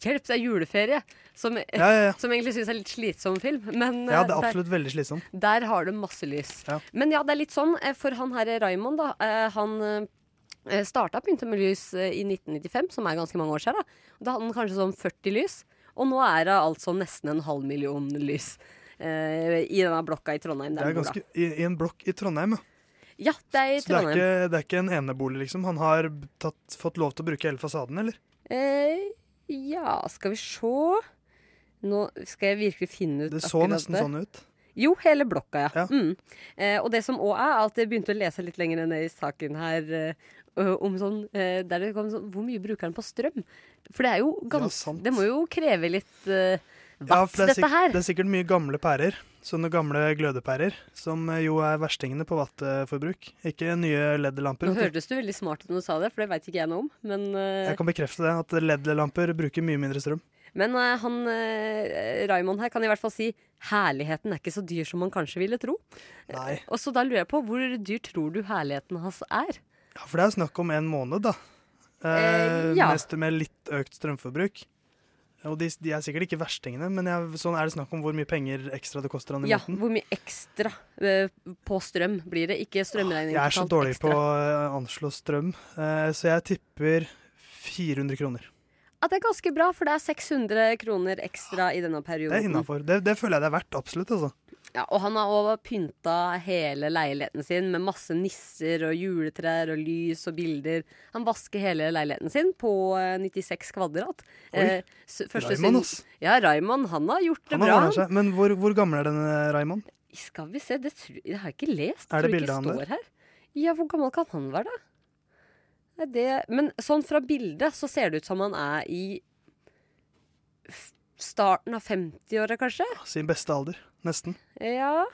Hjelp, det er juleferie! Som, Ja, ja, ja. som egentlig syns er litt slitsom film. Men eh, Ja, det er der, absolutt veldig slitsomt. der har de masse lys. Ja. Men ja, det er litt sånn, eh, for han her Raymond, da, eh, han eh, starta Pynte med lys eh, i 1995, som er ganske mange år siden. Da, da hadde han kanskje sånn 40 lys, og nå er det altså nesten en halv million lys. eh, I denne blokka i Trondheim. Det Der er han bor, ganske, i, I en blokk i Trondheim, ja. da. Ja, det er i Så det er Trondheim. ikke, det er ikke en enebolig, liksom. Han har b- tatt, fått lov til å bruke hele fasaden, eller? Eh, ja, skal vi se. Nå skal jeg virkelig finne ut Det så akkurat nesten det. sånn ut. Jo, hele blokka, ja. Ja. Mm. Eh, og det som òg er, at jeg begynte å lese litt lenger ned i saken her eh, om sånn eh, Der det kom sånn Hvor mye bruker den på strøm? For det er jo ganske sant. Det må jo kreve litt eh, Ja, vatt, for det er, dette sikkert, her. det er sikkert mye gamle pærer. Sånne gamle glødepærer, som eh, jo er verstingene på wattforbruk. Ikke nye LED-lamper. Nå vet du. hørtes du veldig smart ut når du sa det, for det veit ikke jeg noe om. Men, eh, Jeg kan bekrefte det, at LED-lamper bruker mye mindre strøm. men eh, han eh, Raymond her kan i hvert fall si herligheten er ikke så dyr som man kanskje ville tro. Nei. Og så da lurer jeg på, hvor dyr tror du herligheten hans er? Ja, for det er snakk om en måned, da. Eh, Eh, ja. Mest med litt økt strømforbruk. Og de, de er sikkert ikke verstingene, men jeg, sånn er det snakk om hvor mye penger ekstra det koster han i Ja, måneden? hvor mye ekstra eh, på strøm blir det? Ikke strømregning. Jeg er så totalt, dårlig ekstra. på å anslå strøm, eh, så jeg tipper 400 kroner. Ja, Det er ganske bra, for det er 600 kroner ekstra i denne Det er perioden. innafor. Det, det føler jeg det er verdt, absolutt. altså. Ja, og han har også pynta hele leiligheten sin med masse nisser og juletrær og lys og bilder. Han vasker hele leiligheten sin på eh, 96 kvadrat. Eh, Oi. s- Raymond, synd- ass. Ja, Raymond, han har gjort det Han har bra. ordnet seg. Men hvor, hvor gammel er denne Raymond? Skal vi se, det, tru, det har jeg ikke lest. Er det Tror ikke bildet han står der? Her. Ja, hvor gammel kan han være, da? Nei, Det, men sånn fra bildet så ser det ut som han er i f- starten av 50-åra, kanskje? Sin beste alder. Nesten. Ja.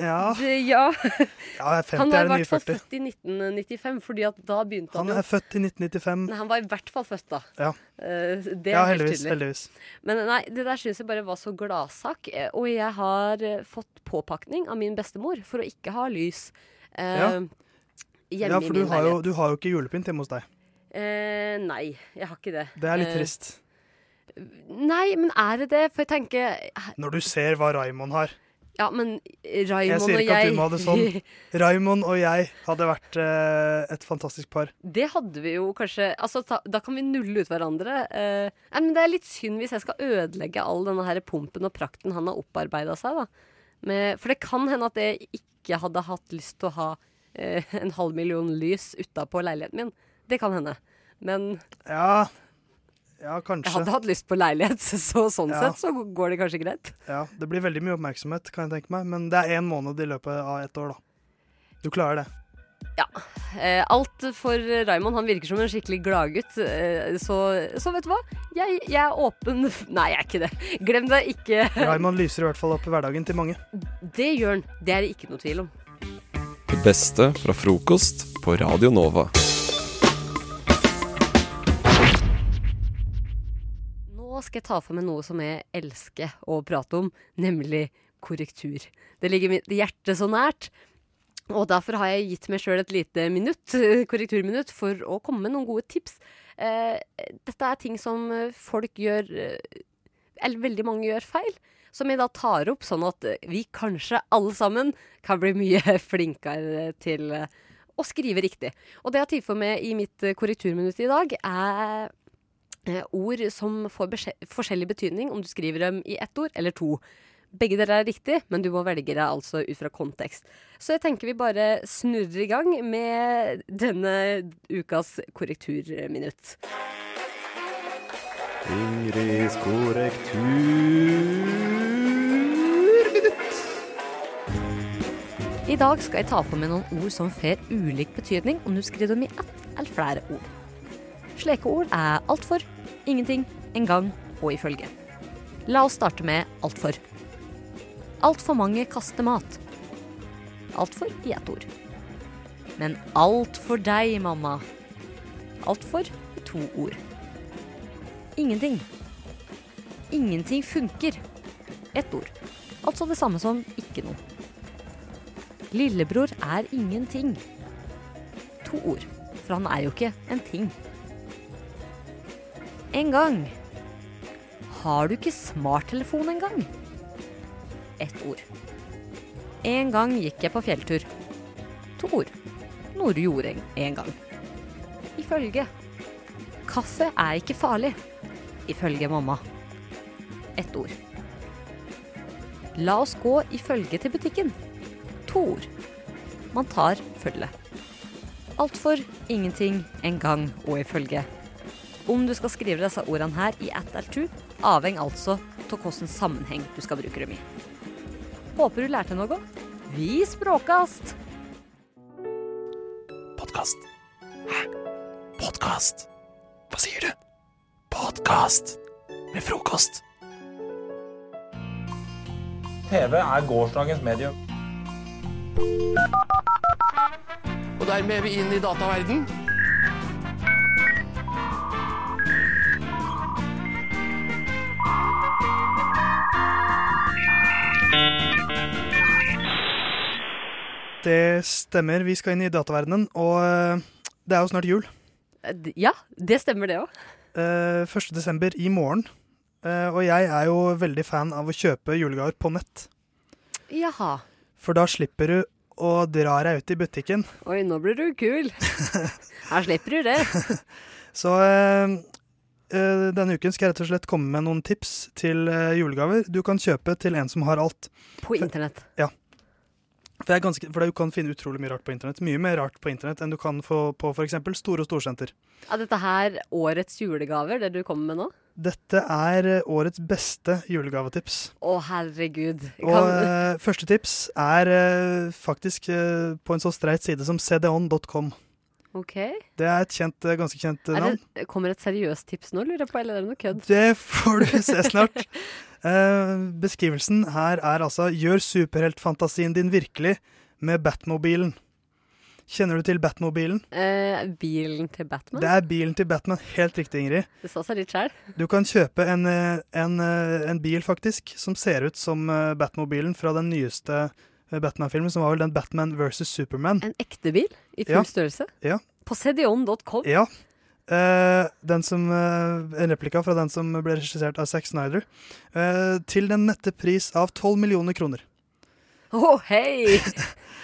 ja. Det, ja. ja, 50 han var er i den nye hvert fall 40. født i 1995, fordi at da begynte han, Han jo- er født i 1995. Nei, han var i hvert fall født da. Ja. Eh, Det er ja, helt heldigvis. tydelig. heldigvis. Men nei, det der syns jeg bare var så gladsak. eh, Og jeg har eh, fått påpakning av min bestemor for å ikke ha lys eh, Ja. Ja, hjemme for i du min har, jo, leilighet. du har jo ikke julepynt hjemme hos deg. Eh, nei, jeg har ikke det. Det er litt Eh, trist. Nei, men er det det? For jeg tenker eh, Når du ser hva Raymond har. Ja, men Jeg Raymond og jeg sier ikke at du må ha det sånn. Raymond og jeg hadde vært eh, et fantastisk par. Det hadde vi jo kanskje altså, ta, Da kan vi nulle ut hverandre. Eh, nei, men det er litt synd hvis jeg skal ødelegge all denne her pumpen og prakten han har opparbeida seg. Da. Med, for det kan hende at jeg ikke hadde hatt lyst til å ha eh, en halv million lys utapå leiligheten min. Det kan hende. Men Ja, ja kanskje. jeg hadde hatt lyst på leilighet, så sånn Ja. sett så går det kanskje greit. Ja, Det blir veldig mye oppmerksomhet, kan jeg tenke meg. Men det er én måned i løpet av ett år, da. Du klarer det. Ja. Eh, alt for Raymond. Han virker som en skikkelig gladgutt. Eh, så, så vet du hva? Jeg, jeg er åpen Nei, jeg er ikke det. Glem det. Ikke Raymond lyser i hvert fall opp i hverdagen til mange. Det gjør han. Det er det ikke noe tvil om. Det beste fra frokost på Radio Nova. Nå skal jeg ta for meg noe som jeg elsker å prate om, nemlig korrektur. Det ligger mitt hjerte så nært. Og derfor har jeg gitt meg sjøl et lite minutt, korrekturminutt for å komme med noen gode tips. Eh, dette er ting som eh, folk gjør eh, Eller veldig mange gjør feil. Som jeg da tar opp, sånn at eh, vi kanskje alle sammen kan bli mye flinkere til eh, å skrive riktig. Og det jeg har tid for meg i mitt eh, korrekturminutt i dag, er eh, ord som får besje- forskjellig betydning om du skriver dem i ett ord eller to. Begge dere er riktig, men du må velge deg altså ut fra kontekst. Så jeg tenker vi bare snurrer i gang med denne ukas korrekturminutt. Ingrids korrekturminutt. I dag skal jeg ta for meg noen ord som får ulik betydning om du skriver dem i ett eller flere ord. Slike ord er altfor, ingenting, en gang og ifølge. La oss starte med altfor. Altfor mange kaster mat. Altfor i ett ord. Men alt for deg, mamma. Altfor i to ord. Ingenting. Ingenting funker. Ett ord. Altså det samme som ikke noe. Lillebror er ingenting. To ord, for han er jo ikke en ting. En gang. Har du ikke smarttelefon engang? Ett ord. En gang gikk jeg på fjelltur. To ord. Noe du gjorde en- en gang. Ifølge. Kaffe er ikke farlig. Ifølge mamma. Ett ord. La oss gå ifølge til butikken to ord. Man tar følge. Alt for, ingenting, en gang og ifølge. Om du skal skrive disse ordene her i ett eller to, avheng altså av hvilken sammenheng du skal bruke dem i. Håper du lærte noe. Vi språkast! Podkast. Hæ? Podkast? Hva sier du? Podkast med frokost. TV er gårsdagens medium. Og dermed er vi inn i dataverden. Det stemmer, vi skal inn i dataverdenen, og eh, det er jo snart jul. Ja, det stemmer det òg. 1. desember Eh, i morgen Eh, og jeg er jo veldig fan av å kjøpe julegaver på nett. Jaha. For da slipper du å dra deg ut i butikken. Oi, nå blir du kul. Her slipper du det. Så eh, eh, denne uken skal jeg rett og slett komme med noen tips til eh, julegaver du kan kjøpe til en som har alt. På internett. Ja. For, jeg er ganske, for du kan finne utrolig mye rart på internett. Mye mer rart på internett enn du kan få på f.eks. store storsenter. Er dette her årets julegaver, det du kommer med nå? Dette er eh, årets beste julegavetips. Å, herregud. Og Kan, eh, første tips er eh, faktisk eh, på en så streit side som cdon.com. ok. Det er et kjent, eh, ganske kjent eh, Er navn. det, kommer et seriøst tips nå, lurer jeg på, eller er det noe kødd? Det får du se snart. Eh, beskrivelsen her er altså 'Gjør superheltfantasien din virkelig med Batmobilen'. Kjenner du til Batmobilen? Eh, bilen til Batman? Det er bilen til Batman. Helt riktig, Ingrid. Det sa seg litt sjøl. Du kan kjøpe en, eh, en, eh, en bil, faktisk, som ser ut som eh, Batmobilen fra den nyeste eh, Batman-filmen, som var vel den Batman versus Superman. En ekte bil? I full størrelse? Ja. På cdion.com? Ja. Eh, den som, eh, en replika fra den som ble regissert av Zack Snyder. Eh, til den nette pris av 12 millioner kroner. Å, hei!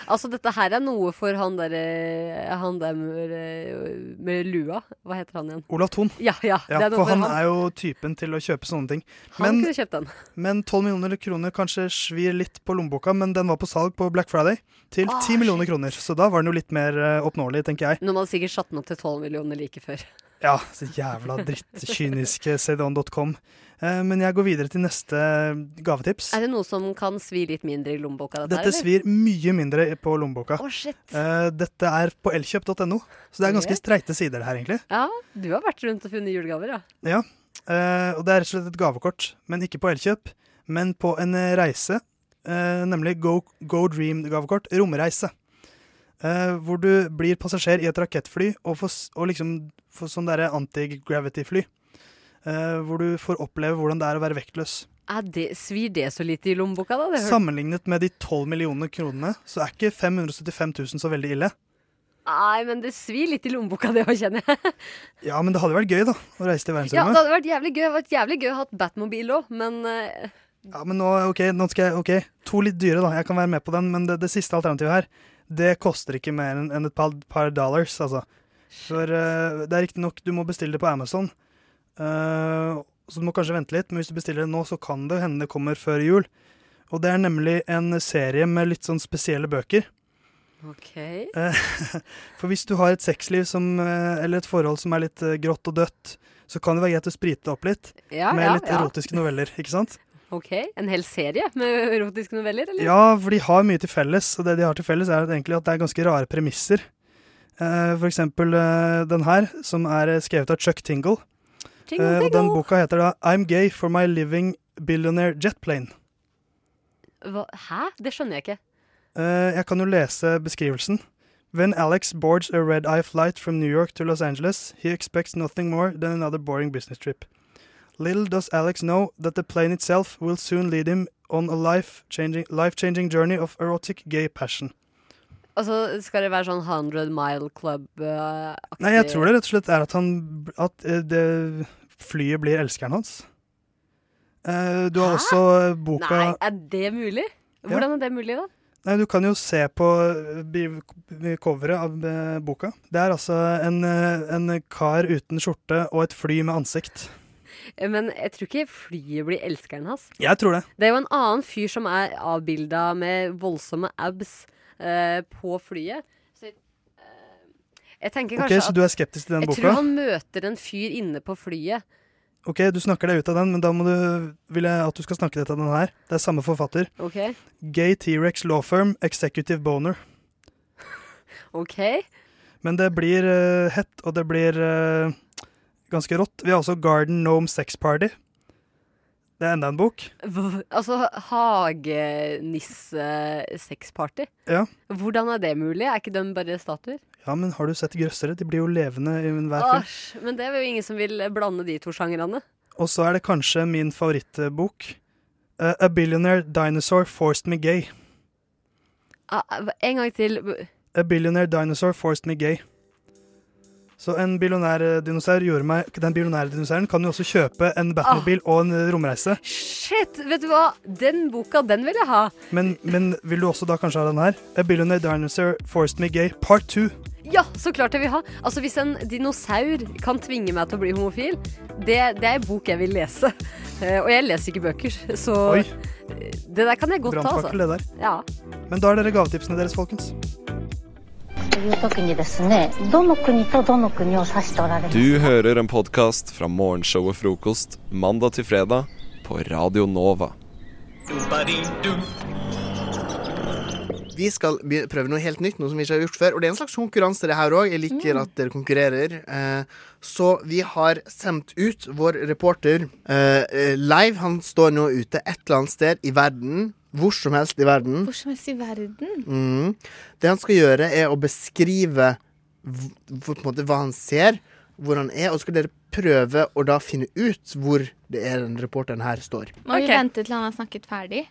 altså, dette her er noe for han der, eh, han der med, eh, med lua. Hva heter han igjen? Olav Thon. Ja, ja, det er noe for han han. er jo typen til å kjøpe sånne ting. Han kunne kjøpt den. men 12 millioner kroner kanskje svir litt på lommeboka, men den var på salg på Black Friday til Ah, 10 millioner kroner. Så da var den jo litt mer eh, oppnåelig, tenker jeg. Noen hadde sikkert satt den opp til 12 millioner like før. Ja, så jævla drittkyniske cdon.com. Eh, men jeg går videre til neste gavetips. Er det noe som kan svi litt mindre i lommeboka? Dette, Dette svir mye mindre på lommeboka. Å, shit. Eh, dette er på elkjøp.no, så det er ganske Ok. streite sider her, egentlig. Ja, du har vært rundt og funnet julegaver, ja. Ja, eh, og det er rett og slett et gavekort, men ikke på Elkjøp, men på en eh, reise, eh, nemlig Go, Go Dream-gavekort, romreise. Eh, hvor du blir passasjer i et rakettfly og, får, s- og liksom får sånn derre anti-gravity-fly. Eh, hvor du får oppleve hvordan det er å være vektløs. Er det, svir det så lite i lommeboka, da? Det hør- Sammenlignet med de 12 millioner kronene, så er ikke 575 000 så veldig ille. Nei, men det svir litt i lommeboka, det òg, kjenner jeg. Ja, men det hadde vært gøy, da, å reise til Ja, det verdensrommet. hadde vært jævlig gøy. Det hadde vært jævlig gøy å ha et Batmobil òg, men eh, Ja, men nå, ok, nå skal jeg, ok, to litt dyre da, jeg kan være med på den, men det, det siste alternativet her, det koster ikke mer enn enn et par, par dollars, altså. For eh, det er riktig nok, du må bestille det på Amazon, Eh, så du må kanskje vente litt, men hvis du bestiller det nå, så kan det jo hende det kommer før jul. Og det er nemlig en serie med litt sånn spesielle bøker. OK. Eh, For hvis du har et sexliv som, eh, eller et forhold som er litt eh, grått og dødt, så kan det være greit å sprite opp litt Ja, med ja, litt ja. erotiske noveller, ikke sant? ok, En hel serie med erotiske noveller, eller? Ja, for de har mye til felles, og det de har til felles er at egentlig at det er ganske rare premisser. Eh, For eksempel eh, den her, som er eh, skrevet av Chuck Tingle. Tingle, Eh, Og den tingle. boka heter da I'm gay for my living billionaire jet plane. Hva? Hæ? Det skjønner jeg ikke. Eh, Jeg kan jo lese beskrivelsen. When Alex boards a red-eye flight from New York to Los Angeles, he expects nothing more than another boring business trip. Little does Alex know that the plane itself will soon lead him on a life-changing life-changing journey of erotic gay passion. Altså, Skal det være sånn 100 Mile eh, Club-aktig? Nei, jeg tror det rett og slett er at, han, at eh, det flyet blir elskeren hans. Eh, Du har også eh, boka Nei, er det mulig? Hvordan er det mulig, da? Nei, du kan jo se på eh, bi- bi- coveret av eh, boka. Det er altså en, eh, en kar uten skjorte og et fly med ansikt. Eh, Men jeg tror ikke flyet blir elskeren hans. Jeg tror det. Det er jo en annen fyr som er avbilda med voldsomme abs eh, på flyet. Så, eh, jeg tenker Ok, kanskje så at du er skeptisk til den Jeg boka? tror han møter en fyr inne på flyet. Ok, du snakker deg ut av den, men da må du, vil jeg at du skal snakke deg ut av den her. Det er samme forfatter. Ok, Gay T-rex law firm, executive boner. ok. Men det blir eh, hett, og det blir eh, ganske rått. Vi har også Garden Gnome Sex Party. Det er enda en bok. Hva- Altså hagenisse-sexparty. Ja. Hvordan er det mulig? Er ikke de bare statuer? ja, men har du sett grøssere? De blir jo levende i hver film. Asj, men det er jo ingen som vil blande de to sjangrene. Og så er det kanskje min favorittbok. Eh, A Billionaire Dinosaur Forced Me Gay. Ah, En gang til. A Billionaire Dinosaur Forced Me Gay. Så en billionær eh, dinosaur gjorde meg Den billionære dinosauren kan jo også kjøpe en Batmobil og en eh, romreise. Shit, vet du hva? Den boka, den vil jeg ha. Men, men vil du også da kanskje ha den her? A Billionaire Dinosaur Forced Me Gay Part 2. Ja, så klart jeg vil ha. Altså, hvis en dinosaur kan tvinge meg til å bli homofil, det, det er en bok jeg vil lese. Eh, og jeg leser ikke bøker, så Oi. det der kan jeg godt ta, altså. Brannfakkel, det der. Ja. Men da er dere gavetipsene deres, folkens. という時にですねどの国とどの国を指しておられます Du hører en podkast fra morgenshowet Frokost mandag til fredag på Radio Nova. Vi skal be- prøve noe helt nytt, noe som vi ikke har gjort før. Og det er en slags konkurranse, det her òg. Jeg Mm. liker at dere konkurrerer. Eh, Så vi har sendt ut vår reporter eh, eh, live. Han står nå ute et eller annet sted i verden. Hvor som helst i verden. Hvor som helst i verden. Mm. Det han skal gjøre, er å beskrive hv- hvor, på en måte, hva han ser, hvor han er, og så skal dere prøve å da finne ut hvor det er den reporteren her står. Må vi vente til han har snakket ferdig?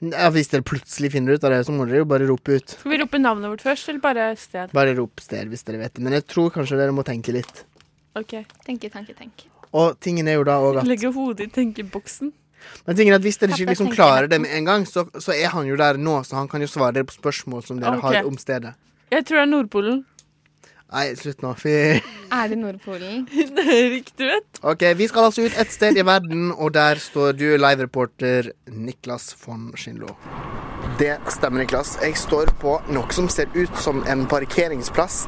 Ja, hvis dere plutselig finner ut av det, så må dere jo bare rope ut. Skal vi rope navnet vårt først, eller bare sted? Bare rop sted hvis dere vet det. Men jeg tror kanskje dere må tenke litt. Ok. Tenke, tenke, tenke. Og tingen er jo da også at Legge hodet i tenkeboksen. Men tingen er at hvis dere ikke Pappa liksom tenker klarer natten. det med en gang, så, så er han jo der nå, så han kan jo svare dere på spørsmål som dere Ok. har om stedet. Jeg tror det er Nordpolen. Nei, slutt nå. Fy. Er det Nordpolen? det er riktig, vet Ok, Vi skal altså ut et sted i verden, og der står du, live-reporter Niklas von Schindlo. Det stemmer, Niklas. Jeg står på noe som ser ut som en parkeringsplass,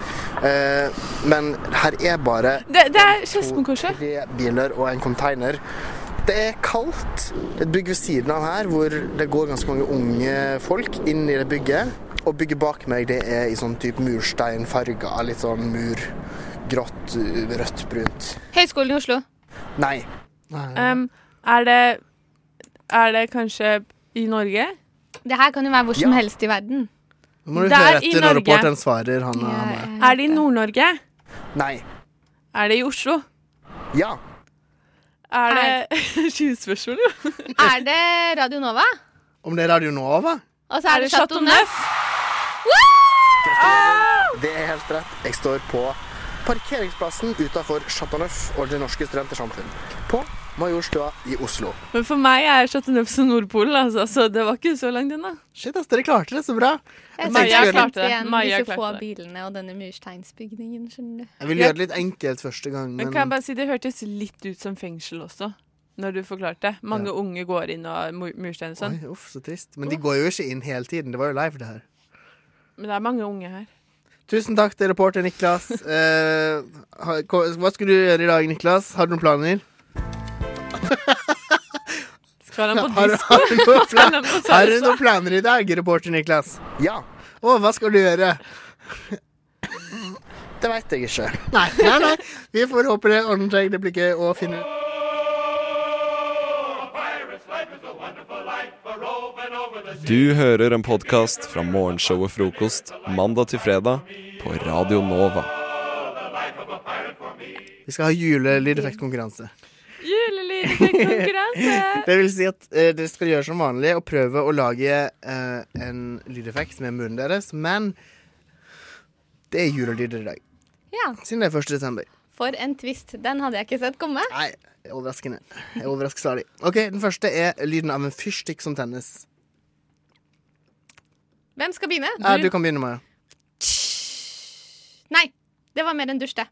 eh, men her er bare Det, det er Skedsmokorset. tre biler og en container. Det er kaldt. Det er et bygg ved siden av her hvor det går ganske mange unge folk inn i det bygget. Og bygget bak meg det er i sånn type mursteinfarga, litt sånn mur, grått, rødt, brunt. Høgskolen i Oslo. Nei. Um, er det Er det kanskje i Norge? Det her kan jo være hvor som Ja. helst i verden. Nå må du Det er høre i etter når Norge. reporteren svarer. Han, han er. Er det i Nord-Norge? Nei. Er det i Oslo? Ja. Er det Skyspørsmål, jo. Er det Radio Nova? Om det er Radio Nova? Og så er det Chateau Neuf. Det er helt rett. Jeg står på parkeringsplassen utenfor Chateau Neuf og Det Norske Studentersamfunn. På Majorstua i Oslo. Men for meg er Chateau Neuf som Nordpolen, altså, så det var ikke så langt unna. Shit, ass, dere klarte det så bra. Jeg tenkte Maja jeg skulle- klarte det. igjen Maja disse klarte få det. bilene og denne mursteinsbygningen, skjønner du. Jeg ville gjøre det litt enkelt første gang, Men men kan jeg bare si, Det hørtes litt ut som fengsel også, når du forklarte. Mange unge går inn og mur- murstein og sånn. Oi, uff, så trist. Men de går jo ikke inn hele tiden. Det var jo live, det her. Men det er mange unge her. Tusen takk til reporter Niklas. Eh, ha- hva hva skulle du gjøre i dag, Niklas? Har du noen planer? Skal han på Har, disko? har, du noen Skal plan han på har du salsa? noen planer i dag, reporter Niklas? Ja. Å, hva skal du gjøre? Det veit jeg ikke. Nei, nei, nei. Vi får håpe det ordner seg det blikket og finne Du hører en podkast fra morgenshowet Frokost mandag til fredag på Radio Nova. Vi skal ha julelydeffektkonkurranse. Julelydeffektkonkurranse! Det vil si at eh, dere skal gjøre som vanlig og prøve å lage eh, en lydeffekt med munnen deres, men det er julelyder i dag. Ja. Siden det er 1. desember. For en twist. Den hadde jeg ikke sett komme. Nei, overraskende. Jeg er overrasket særlig. Ok, Den første er lyden av en fyrstikk som tennes. Hvem skal begynne? Du, du kan begynne, Maja. Nei. Det var mer enn dusj, det.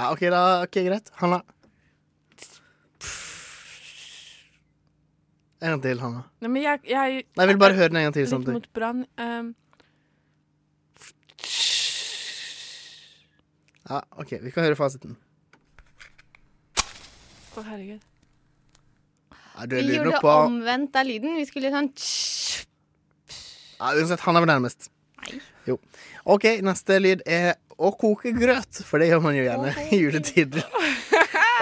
Ja, OK, da. ok, Greit. Hanna. En gang til, Hanna. Nei, men jeg, jeg Nei, jeg vil bare høre den en gang til, Litt samtidig. mot brann. ehm, Ja, OK, vi kan høre fasiten. Å, herregud. Ja, du Vi er lyd gjorde nok på omvendt av lyden. Vi skulle sånn tss. ja, Uansett, Hanna var nærmest. Jo. OK, neste lyd er å koke grøt, for det gjør man jo gjerne i juletider.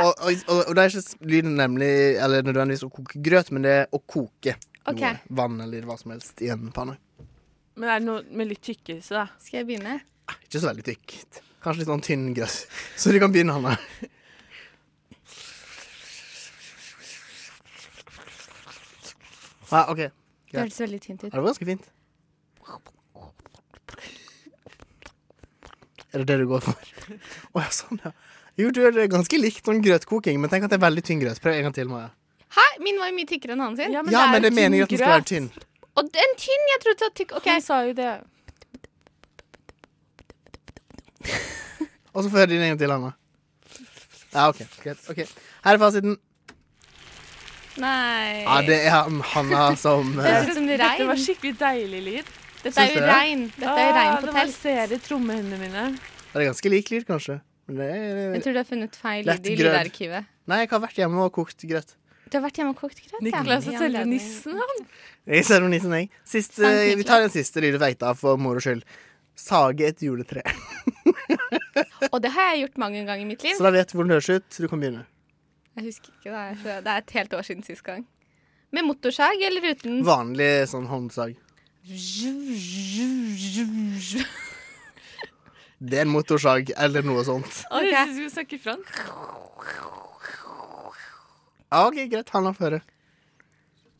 Og, og, og, og det er ikke lyden nemlig, eller nødvendigvis å koke grøt, men det er å koke Ok. noe. Vann eller hva som helst i en panne. Men er det noe med litt tykkelse, da? Skal jeg begynne? Ikke så veldig tykt. Kanskje litt sånn tynn grøt. Så du kan begynne, Hanna. Ja, OK. Det Greit. hørtes veldig tynt Ja, ut. det var ganske fint. Er det det du går for? Å ja, sånn, ja. Jo, du er ganske likt sånn grøtkoking, men tenk at det er veldig tynn grøt. Prøv en gang til, Maja. Hæ? Min var jo mye tykkere enn han sin. Ja, men det er meningen at den skal være tynn. Og den tynn, jeg trodde at tykk OK. sa jo det. Og så får jeg din en gang til, Anna. Ja, OK. Greit. ok. Her er fasiten. Nei Ja, det er han- Hanna som eh, ut som regn. Dette var skikkelig deilig lyd. Dette er jo Syns dere? regn. Dette er jo Åh, regn på det telt. masserer trommehendene mine. Det er ganske lik lyd, kanskje. Men det er, eh, Jeg tror du har funnet feil Lett lyd i grøt. lydarkivet. Nei, jeg har vært hjemme og kokt grøt. Du har vært hjemme og kokt grøt, ja. Niklas og selve nissen, han. Jeg ser om nissen, jeg. Siste, Sant, vi tar den siste lydeffekt, da, for moro skyld. Sage et juletre. Og det har jeg gjort mange ganger i mitt liv. Så da vet du hvordan det høres ut. Du kan begynne. Jeg husker ikke, det er, så- det er et helt år siden sist gang. Med motorsag eller Mm. uten? Vanlig sånn håndsag. Det er en motorsag eller noe sånt. Okay. Jeg synes vi snakker fransk. Ja, OK, greit. Han har føre.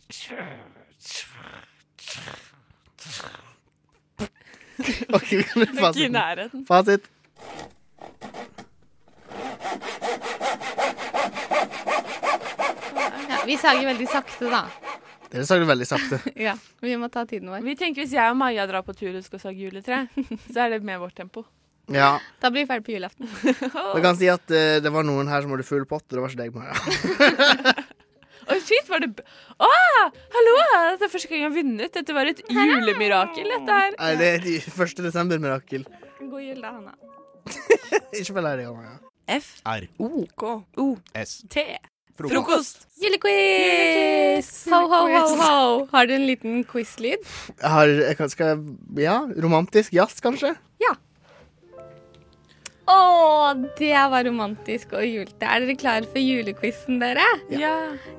OK, vi kan Ikke i gjøre fasiten. nærheten. Fasit. Ja, vi sager veldig sakte, da. Dere sa det veldig sakte. Ja, Vi må ta tiden vår. Vi tenker Hvis jeg og Maja drar på tur og skal sage juletre, så er det med vårt tempo. Ja. Da blir vi ferdig på julaften. Jeg kan si at eh, det var noen her som hadde full pott, og det var ikke deg, Maja. Å, shit, var det b Å, hallo! Dette er første gang jeg har vunnet. Dette var et julemirakel, dette her. Nei, det er et 1. desember-mirakel. God jul, da, Hanna. Ikke vel deg, Maja. F. R. O. K. O. S. T. Frokost. Julequiz! Ho, ho, ho, ho. Har du en liten quiz-lyd? Jeg har, jeg kan, skal jeg, ja, romantisk jazz, kanskje? Ja. Å, det var romantisk og julete. Er dere klare for julequizen, dere? Ja.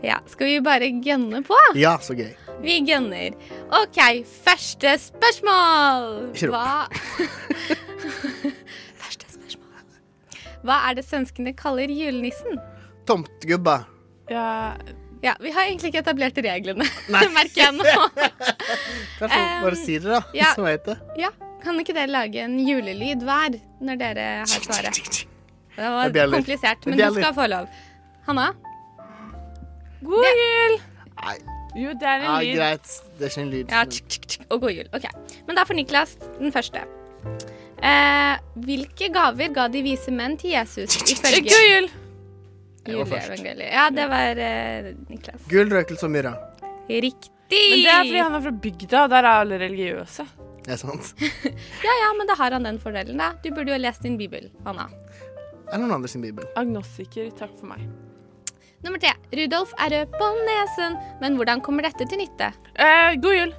ja. Skal vi bare gønne på? Ja, så gøy. Vi gønner. OK, første spørsmål. Ikke rop. Første spørsmål. Hva er det svenskene kaller julenissen? Tomtgubba. Ja. Vi har egentlig ikke etablert reglene, merker jeg nå. Kanskje Um, bare si det, da, ja. så vet jeg. Ja, Kan ikke dere lage en julelyd hver når dere har svaret? Det var Det bjeller. komplisert, Det men du bjeller. skal få lov. Hanna? God jul! Nei. Jo, det er en Ja, lyd. greit. Det er ikke en lyd. Ja, tsk, tsk, tsk, og god jul. Ok, Men da for Niklas den første. Eh, hvilke gaver ga de vise menn til Jesus ifølge God jul! Jeg var først. Juleevangeliet. Ja, det var eh, Niklas. Gull, røkelse og myrra. Riktig. Men det er fordi han er fra bygda, og der er alle religiøse. Det er sant. Ja, ja, men da har han den fordelen, da. Du burde jo ha lest din bibel, Anna. Eller noen andre sin bibel. Agnostiker, takk for meg. Nummer tre. Rudolf er rød på nesen, men hvordan kommer dette til nytte? Eh, god jul!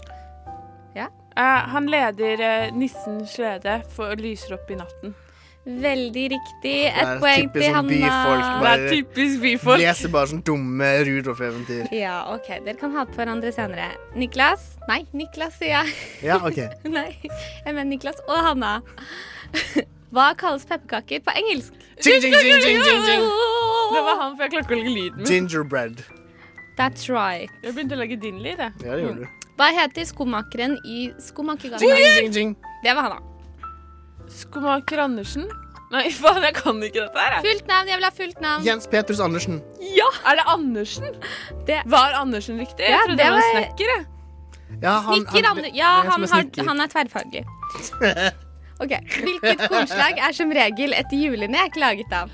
Ja. Eh, han leder eh, nissens slede for, og lyser opp i natten. Veldig riktig. Det Et er poeng typisk til sånn byfolk. Hanna. Bare typisk byfolk. Leser bare sånn dumme Rudolf-eventyr. Ja, OK. Dere kan hate på hverandre senere. Niklas? Nei, Niklas, sier jeg. Ja, OK. Nei, jeg mener Niklas og Hanna. Hva kalles pepperkaker på engelsk? Jing, jing, jing, jing, jing, jing. Det var han, for jeg klarte ikke å legge lyden min. Gingerbread. That's right. Jeg begynte å lage din lyd, jeg. Ja, det gjorde du. Hva heter skomakeren i Skomakergata? Jing, jing, jing, Det var Hanna. Skomaker Andersen? Nei, faen, jeg kan ikke dette her. jeg. Fullt navn, jeg vil ha fullt navn. Jens Petrus Andersen. Ja! Er det Andersen? Var Andersen riktig? Jeg Ja, trodde det det var var- snekker, jeg. Ja, Snikker Ander... Ja, det er han, en som har, er snikker. han er tverrfaglig. Ok, Hvilket kornslag er som regel et julenek laget av?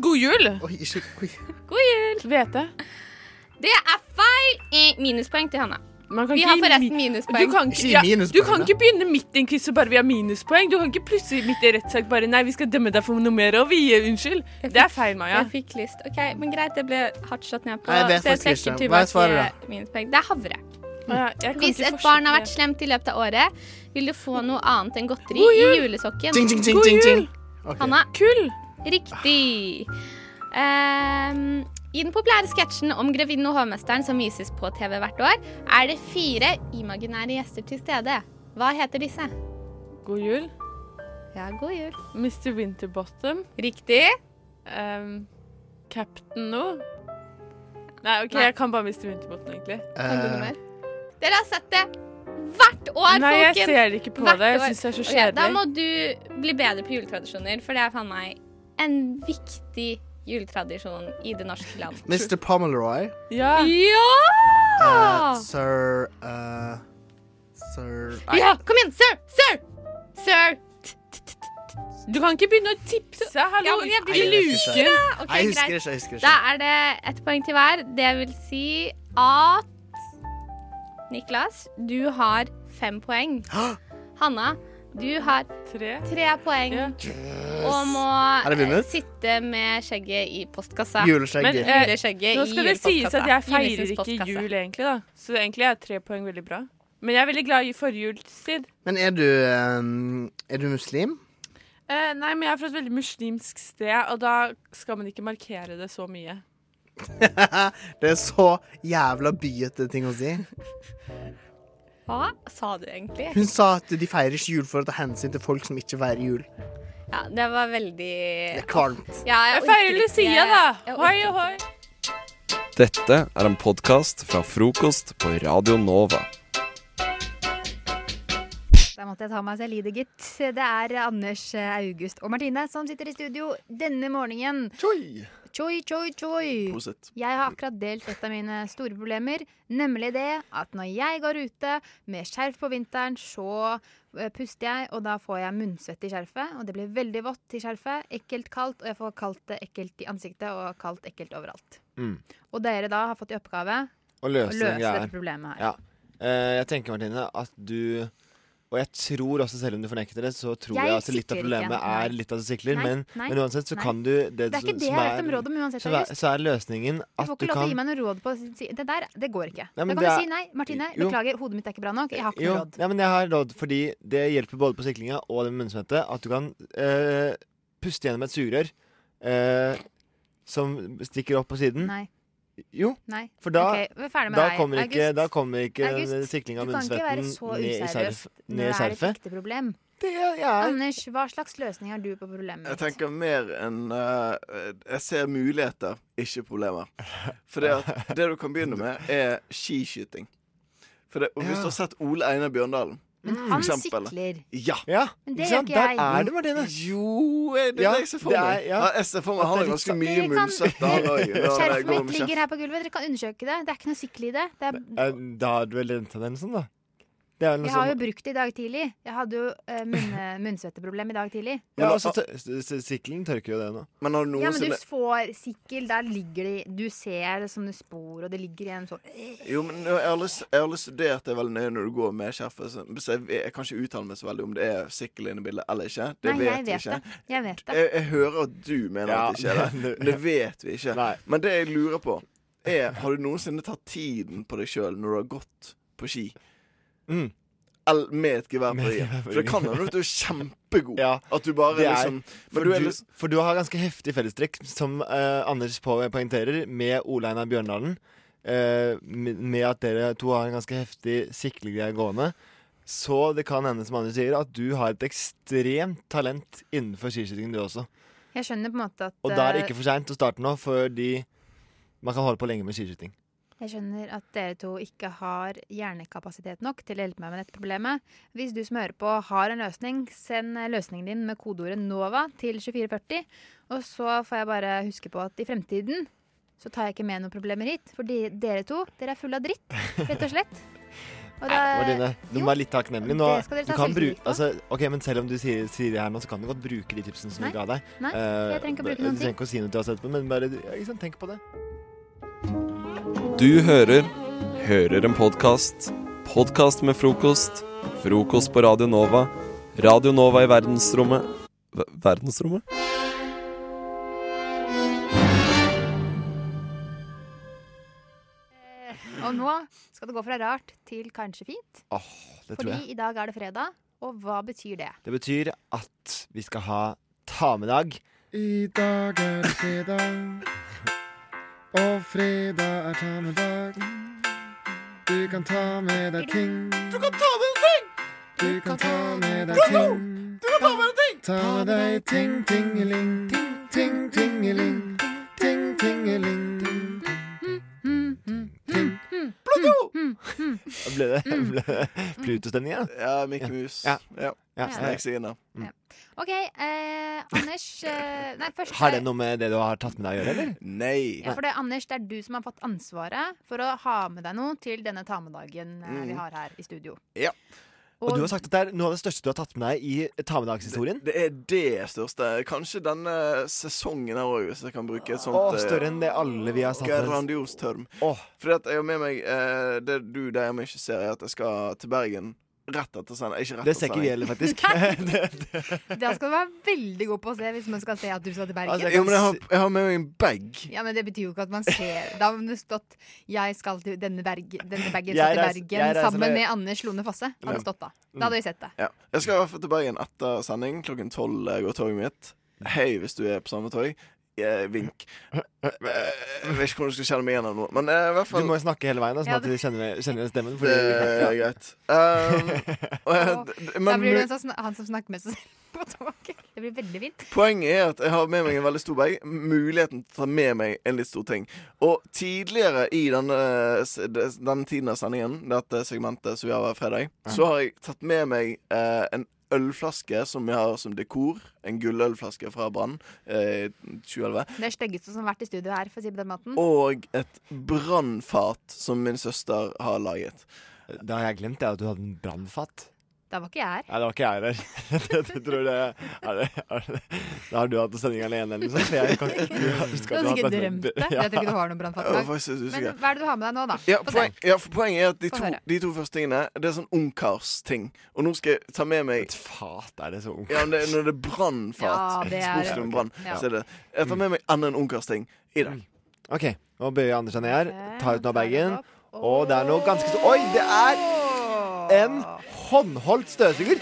god jul! Oi, ikke, oi. God jul! Hvete. Det er feil! Eh, Minuspoeng til Hanna. kan Vi ikke har gi forresten mi- minuspoeng. Du kan Ikke ikke, gi ja, minuspoeng, du kan da. ikke begynne midt i en quiz og bare vi har minuspoeng. Du kan ikke plutselig midt i rettssak bare Nei, vi skal dømme deg for noe mer, og vi gir unnskyld. Det er feil, Maja. Jeg fikk lyst. Ok, Men greit, det ble hardt slått ned på. Nei, jeg vet så jeg faktisk trekker ikke. Hva er tilbake svaret minuspoeng. Det er havre. Å ja, jeg kan Hvis ikke et barn har fortsette. vært slemt i løpet av året, vil du få noe annet enn godteri God i jul! julesokken. Jing, jing, jing, God jing, jing. jul! Ok. Hanna. Kull! Riktig. Ehm, I den populære sketsjen om grevinnen og hovmesteren som vises på TV hvert år, er det fire imaginære gjester til stede. Hva heter disse? God jul. Ja, god jul. Mr. Winterbottom. Riktig. Um, Captain No. Nei, OK, Nei. jeg kan bare Mr. Winterbottom, egentlig. Kan du noe Eh. Dere har sett det Hvert år, Nei, jeg folkens. ser ikke på Hvert det. Jeg år. synes det er så Ok, da kjedelig. må du bli bedre på juletradisjoner, for det er faen meg en viktig juletradisjon i det norske land. Mr. Pomeroy. Ja! Ah! eh, sir eh, Sir Nei. Ja, kom igjen! Sir! Sir! Sir! Du kan ikke begynne å tipse. Hallo, Ja, men jeg blir Nei, jeg husker luken. ikke. Ok, Nei, jeg husker greit. ikke, jeg husker ikke. Da er det ett poeng til hver. Det vil si at Niklas, du har fem poeng. Hanna, du har tre, poeng. Og må eh, Er det vunnet? sitte med skjegget i postkassa. Juleskjegget. Men, eh, Juleskjegget Nå i skal det sies julepostkassa. at jeg feirer Julenissen ikke postkassa. jul, egentlig, da. Så egentlig er tre poeng veldig bra. Men jeg er veldig glad i forjulstid. Men er du eh, Er du muslim? Eh, nei, men jeg er fra et veldig muslimsk sted, og da skal man ikke markere det så mye. det er så jævla byete ting å si. Hva sa du egentlig? Hun sa at de feirer ikke jul for å ta hensyn til folk som ikke feirer jul. Ja, det var veldig Det er kvalmt. Ja, Jeg orker feirer ikke- Lucia, da. jeg orker Hoi, ikke. hoi. Dette er en podkast fra frokost på Radio Nova. Da måtte jeg ta meg selv i det, gitt. Det er Anders, August og Martine som sitter i studio denne morgenen. Choi! Choi, choi, choi. Prosit. Jeg har akkurat delt et av mine store problemer, nemlig det at når jeg går ute med skjerf på vinteren, så eh, puster jeg, og da får jeg munnsvett i skjerfet, og det blir veldig vått i skjerfet, ekkelt kaldt, og jeg får kaldt det ekkelt i ansiktet, og kaldt ekkelt overalt. Mm. Og dere da har fått i oppgave Å løse, å løse den greia her. dette problemet her. Ja. Eh, jeg tenker, Martine, at du Og jeg tror også, selv om du fornekter det, så tror Jeg jeg, at litt av sikler problemet ikke. Nei. er litt at du sikler. Nei, Men, nei, men uansett så nei. kan du Det er ikke det jeg har bedt om råd om uansett, så, er, August. så er løsningen Du at får du ikke lov til å gi kan meg noe råd på å si Det der, det går ikke. Nei, men da kan det du er- si nei. Martine, Jo. beklager, hodet mitt er ikke bra nok. Jeg har ikke jo, noe råd. Nei, men jeg har råd, fordi det hjelper både på siklinga og det med munnsmette at du kan eh, puste gjennom et sugerør eh, som stikker opp på siden. Nei. Jo. Nei. For da, Ok, vi er ferdig med da, deg. kommer ikke, August. da kommer ikke August, den siklinga du og kan ikke være munnsvetten så ned i useriøs skjerf- når ned i det er et skjerfet. ekte problem. Anders, hva slags løsning har du på problemet? Jeg tenker mer enn eh, Jeg ser muligheter, ikke problemer. For det, at, det du kan begynne med, er skiskyting. For det, og hvis du har sett Ole Einar Bjørndalen Men for Mm. han eksempel. sikler. Ja. Men det Ikke sant? gjør ikke jeg. Der er det, Martine. Jo, er det Ja, det jeg ser for det meg? er- ja. Ja, jeg ser for meg han At det har er ganske litt mye sånn- munnsvett. han også, jo, når det Skjerfet går mitt med ligger kjeft. her på gulvet. Dere kan undersøke det. Det er ikke noe sikle i det. det er, Eh, Da har du vel den tendensen, da. Det er vel noe jeg har jo sånn- brukt det i dag tidlig. Jeg hadde jo eh, munne- munnsvetteproblem i dag tidlig. Men altså, også altså, tør- s- s- siklen tørker jo det nå. Men har Ja, men du får sikkel. Der ligger det Du ser det sånne spor, og det ligger igjen sånn Jo, men jeg har, aldri, jeg har aldri studert det veldig nøye når du går med skjerfet. så- Så jeg, jeg kan ikke uttale meg så veldig om det er sikkel inne i bildet eller ikke. Det Nei, vet jeg vi vet ikke. det. Jeg vet det. Jeg, jeg hører at du mener Ja, at det ikke er det. men- Men det vet vi ikke. Men det jeg lurer på, er Har du noensinne tatt tiden på deg sjøl når du har gått på ski? Mm. El, med et gevær Med på et ryggen? gevær på For det ryggen. kan hende at du er kjempegod. At du bare Det er, liksom for, men du du er liksom- for du har ganske heftig fellestrekk, som eh, Anders på- poengterer, med Ole Einar Bjørndalen. eh, med med at dere to har en ganske heftig siklegreie gående. Så det kan hende, som Anders sier, at du har et ekstremt talent innenfor skiskyting, du også. Jeg skjønner på en måte at Og da er det eh, ikke for seint å starte nå, fordi man kan holde på lenge med skiskyting. Jeg skjønner at dere to ikke har hjernekapasitet nok til å hjelpe meg med dette problemet. Hvis du som hører på har en løsning, send løsningen din med kodeordet NOVA til 2440. Og så får jeg bare huske på at i fremtiden så tar jeg ikke med noen problemer hit. For de, dere to, dere er fulle av dritt, rett og slett. Og da, Martine, du må være litt takknemlig nå. Eh, det skal dere Du ta kan selvtillit bruke, altså, ok, men selv om du sier, sier det her nå, så kan du godt bruke de tipsene som Nei, vi ga deg. nei, Eh, jeg trenger ikke å bruke du noen trenger ikke å si noe til oss etterpå, men bare ja, ikke sant, tenk på det. Du hører Hører en podkast. Podkast med frokost. Frokost på Radio Nova. Radio Nova i verdensrommet Ver- Verdensrommet? eh, og nå skal det gå fra rart til kanskje fint. Åh, det tror Fordi jeg. i dag er det fredag, og hva betyr det? Det betyr at vi skal ha ta med dag. I dag er det fredag, og fredag er ta med dag. Du kan ta med deg ting. Du kan ta med deg ting! Du kan ta med deg ting. Du kan ta med deg ting! Ta med deg ting, tingeling. Ting, tingeling. Ting, tingeling. Ting. Plutto! Ble det, Mm. ble det Pluto-stemning, ja? Ja, Mikke Mus. Ja. Mm. Ja. Snek seg inn der. OK, eh, Anders eh, Nei, først Har det noe med det du har tatt med deg å gjøre, eller? Nei. Ja, for det, Anders, det er du som har fått ansvaret for å ha med deg noe til denne ta med-dagen eh, vi Mm. har her i studio. Ja. Og du har sagt at det er noe av det største du har tatt med deg i tamedagshistorien? Det er det største. Kanskje denne sesongen her òg, hvis jeg kan bruke et sånt Å, eh, større enn det alle vi har satt Grandios term. Fordi at jeg har med meg eh, Det du der hjemme ikke ser, er at jeg skal til Bergen rett etter sending. Ikke rett Det etter ser ikke vi sending. heller, faktisk. Da skal du være veldig god på å se hvis man skal se at du skal Altså, til Bergen. Altså, Jo, men jeg har, jeg har med meg en bag. Ja, men Det betyr jo ikke at man ser Da har det stått 'Jeg skal til denne, berg, denne bagen Jeg skal til reiser- jeg Bergen' reiser sammen med- med Anders Lone Fosse. Hadde det Ja. Mm. stått Da Da hadde vi sett det. Ja. Jeg skal i hvert fall til Bergen etter sending. Klokken tolv eh, går toget mitt. Hei, hvis du er på samme tog. Eh, vink. Eh, Jeg vet ikke hvordan du skal kjenne meg igjen av noe, men eh, i hvert Du fall må jo snakke hele veien, da, sånn Ja, at du kjenner, kjenner igjen stemmen. Det er greit. Um, og jeg, d- Da men blir du en sånn, han som snakker med seg selv på toget. Det blir veldig fint. Poenget er at jeg har med meg en veldig stor bag. Muligheten til å ta med meg en litt stor ting. Og tidligere i denne, s- des- denne tiden av sendingen, dette segmentet som vi har hver fredag, så har jeg tatt med meg eh, en ølflaske som jeg har som dekor. En gullølflaske fra Brann eh, 2011. Det er styggeste som har vært i studio her, for å si det på den måten. Og et brannfat som min søster har laget. Da har jeg glemt det at du hadde en brannfat. Da var ikke jeg her. Nei, det var ikke jeg der. det, det tror det, er det, er det. Da har du hatt sending alene, eller noe sånt. for Jeg kan ikke huske at Du har hadde sikkert hatt- drømt det. Jeg tror ikke du har noen brannfakkel. Jeg var faktisk litt usikker. Men hva er det du har med deg nå, da? Ja, Få se. poeng, ja, for poenget er at de Få to, høre. de to første tingene Det er sånn ungkarsting. Og nå skal jeg ta med meg Et fat, er det så ungkars? Ja, men det, når det er brannfat. Ja, det Ja, er- brann. Ja. Så er det Jeg tar med meg enda en ungkarsting i dag. Mm. OK. Nå bøyer Anders seg ned her, tar ut noe av bagen, og det er noe ganske stort Oi, det er en håndholdt støvsuger!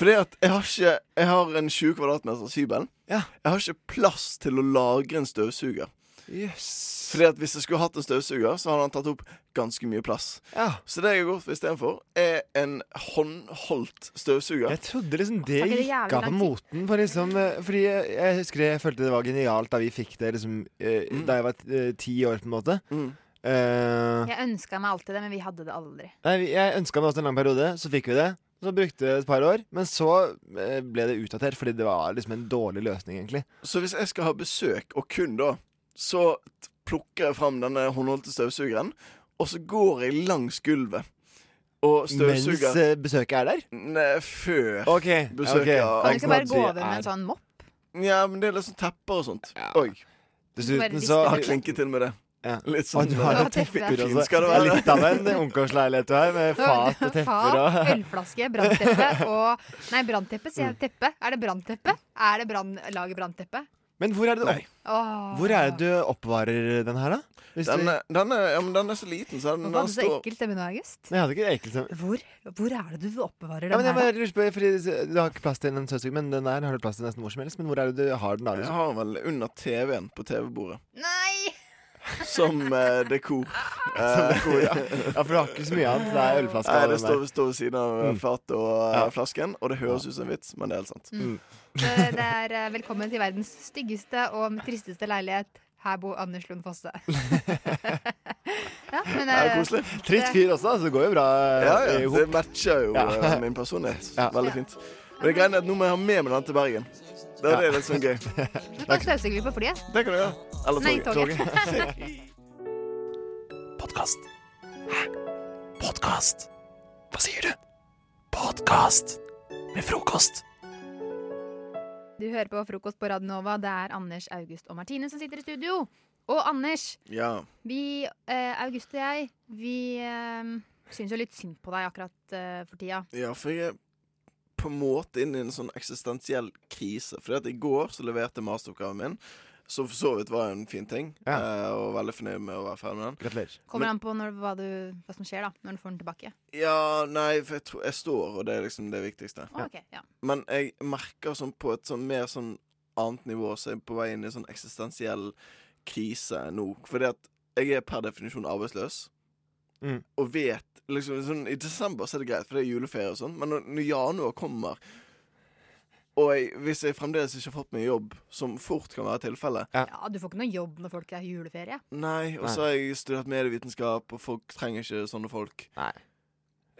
Fordi at jeg har ikke Jeg har en 20 kvadratmeters hybel. Jeg har ikke plass til å lagre en støvsuger. Fordi at Hvis jeg skulle hatt en støvsuger, så hadde han tatt opp ganske mye plass. Ja. Så det jeg har gått for istedenfor, er en håndholdt støvsuger. Jeg trodde liksom det Tar ikke det gikk jævlig av lang tid? moten. For liksom, eh, fordi jeg, jeg husker det, jeg følte det var genialt da vi fikk det liksom, eh, Mm. da jeg var eh, ti år, på en måte. Eh, Jeg ønska meg alltid det, men vi hadde det aldri. Nei, vi- jeg ønska meg også en lang periode, så fikk vi det. Så brukte vi det et par år, men så eh, ble det utdatert fordi det var liksom en dårlig løsning, egentlig. Så hvis jeg skal ha besøk, og kun da, så t- plukker jeg fram denne håndholdte støvsugeren, og så går jeg langs gulvet. Og Mens støvsuger eh, besøket er der? Nei, før Ok, besøket. ok. ja. Kan du ikke bare gå over med en sånn mopp? Ja, men det er litt sånn tepper og sånt. Oi. Dessuten Bare så- riste Jeg klinker til med det. Litt sånn og du har eh, noen tepper også. Fint skal det Det er være. Litt av en ungkarsleilighet du har, med fat og tepper Fat, og ølflaske, brannteppe og Nei, brannteppe, sier jeg. Teppe. Er det brannteppe? Er det brann... Lager brannteppe? Men hvor er det du, Åh. hvor er det du oppbevarer den her, da? Hvis du- Den, eh, er- den, er, ja, men den er så liten, så den, den Hvorfor hadde du så står ekkel stemme nå, August? Nei, jeg hadde ikke ekkelt sånn. Hvor, hvor er det du oppbevarer Ja, men jeg den her? bare lurer på, fordi Du har ikke plass til en støvsuger, men den der har du plass til nesten hvor som helst. Men hvor er det du har den? da? Jeg Liksom? har den vel under TV-en på TV-bordet. Nei! Som eh, dekor. Som dekor, ja. Ja, for du har ikke så mye annet, så det er ølflaska Nei, og det den der. står, står ved siden av eh, Mm. fatet og eh, Ja. flasken, og det høres ut som en vits, men det er helt sant. Mm. Eh, Det er eh, velkommen til verdens styggeste og tristeste leilighet. Her bor Anders Lund Fosse. ja, men, eh, Trist det- fyr også, altså. Det går jo bra. Ja, ja. Det matcher jo Ja. eh, min personlighet. Veldig fint. Og det greia er at nå må jeg ha med meg den til Bergen. Det er Ja. det litt sånn gøy. Det Du kan støvsuge litt på flyet. kan du gjøre. Eller Nei, toget. toget. Podkast. Hæ? Podkast? Hva sier du? Podkast med frokost. Du hører på frokost på Radio Nova. Det er Anders, August og Martine som sitter i studio. Og Anders, ja. vi, eh, August og jeg, vi eh, syns jo litt synd på deg akkurat eh, for tida. ja, for jeg er på en måte inne i en sånn eksistensiell krise. Fordi at i går så leverte jeg masteroppgaven min, som for så vidt var en fin ting, eh, og veldig fornøyd med å være ferdig med den. Gratulerer. Kommer an på når, hva, du, hva som skjer da, når du får den tilbake. Ja, nei, for jeg, tror, jeg står, og det er liksom det viktigste. Å, ok, ja. Men jeg merker sånn på et sånn mer sånn annet nivå, så er jeg på vei inn i sånn eksistensiell krise nå. Fordi at jeg er per definisjon arbeidsløs, Mm. og vet liksom sånn, I desember så er det greit, for det er juleferie og sånn, men når, når januar kommer Og jeg, hvis jeg fremdeles ikke har fått meg jobb, som fort kan være tilfellet Ja, du får ikke noe jobb når folk er i juleferie. Nei, og så har jeg studert medievitenskap, og folk trenger ikke sånne folk. Nei.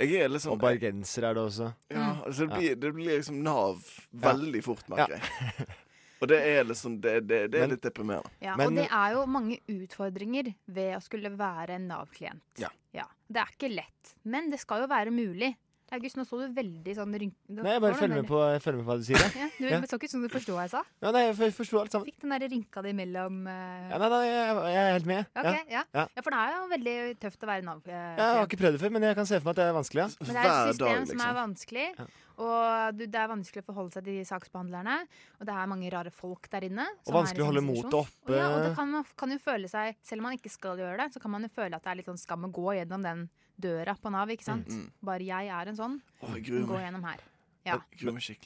Jeg er litt sånn Og bergenser er det også. Ja, Mm. altså det blir, det blir liksom Nav Ja. veldig fort, merker jeg. Og det er liksom Det, det, det er litt deprimerende. Ja, og det er jo mange utfordringer ved å skulle være en Nav-klient. Ja. Ja, Det er ikke lett, men det skal jo være mulig. August, nå så du veldig sånn rynke... Nei, jeg bare følger med, på, jeg følger med på hva du sier. Ja, jeg. du Ja. så ikke ut som du forsto hva jeg sa. Ja, nei, jeg for- forsto alt sammen. Fikk den der rynka di mellom eh, Ja, nei, nei, jeg, jeg er helt med. ja, ok, ja. Ja. ja, for det er jo veldig tøft å være Ja, Jeg har Nav-klient. ikke prøvd det før, men jeg kan se for meg at det er vanskelig. Ja. Men det er et system som liksom. liksom. er vanskelig, Ja. og du, det er vanskelig å forholde seg til de saksbehandlerne. Og det er mange rare folk der inne. som Og vanskelig er i å holde samme motet situasjon. oppe. Og Ja, og det kan, man kan jo føle seg, selv om man ikke skal gjøre det, så kan man jo føle at det er litt sånn skam å gå gjennom den døra på Nav, ikke sant. Mm. Bare jeg er en sånn. Å, jeg gruer gå meg. gjennom her. Ja.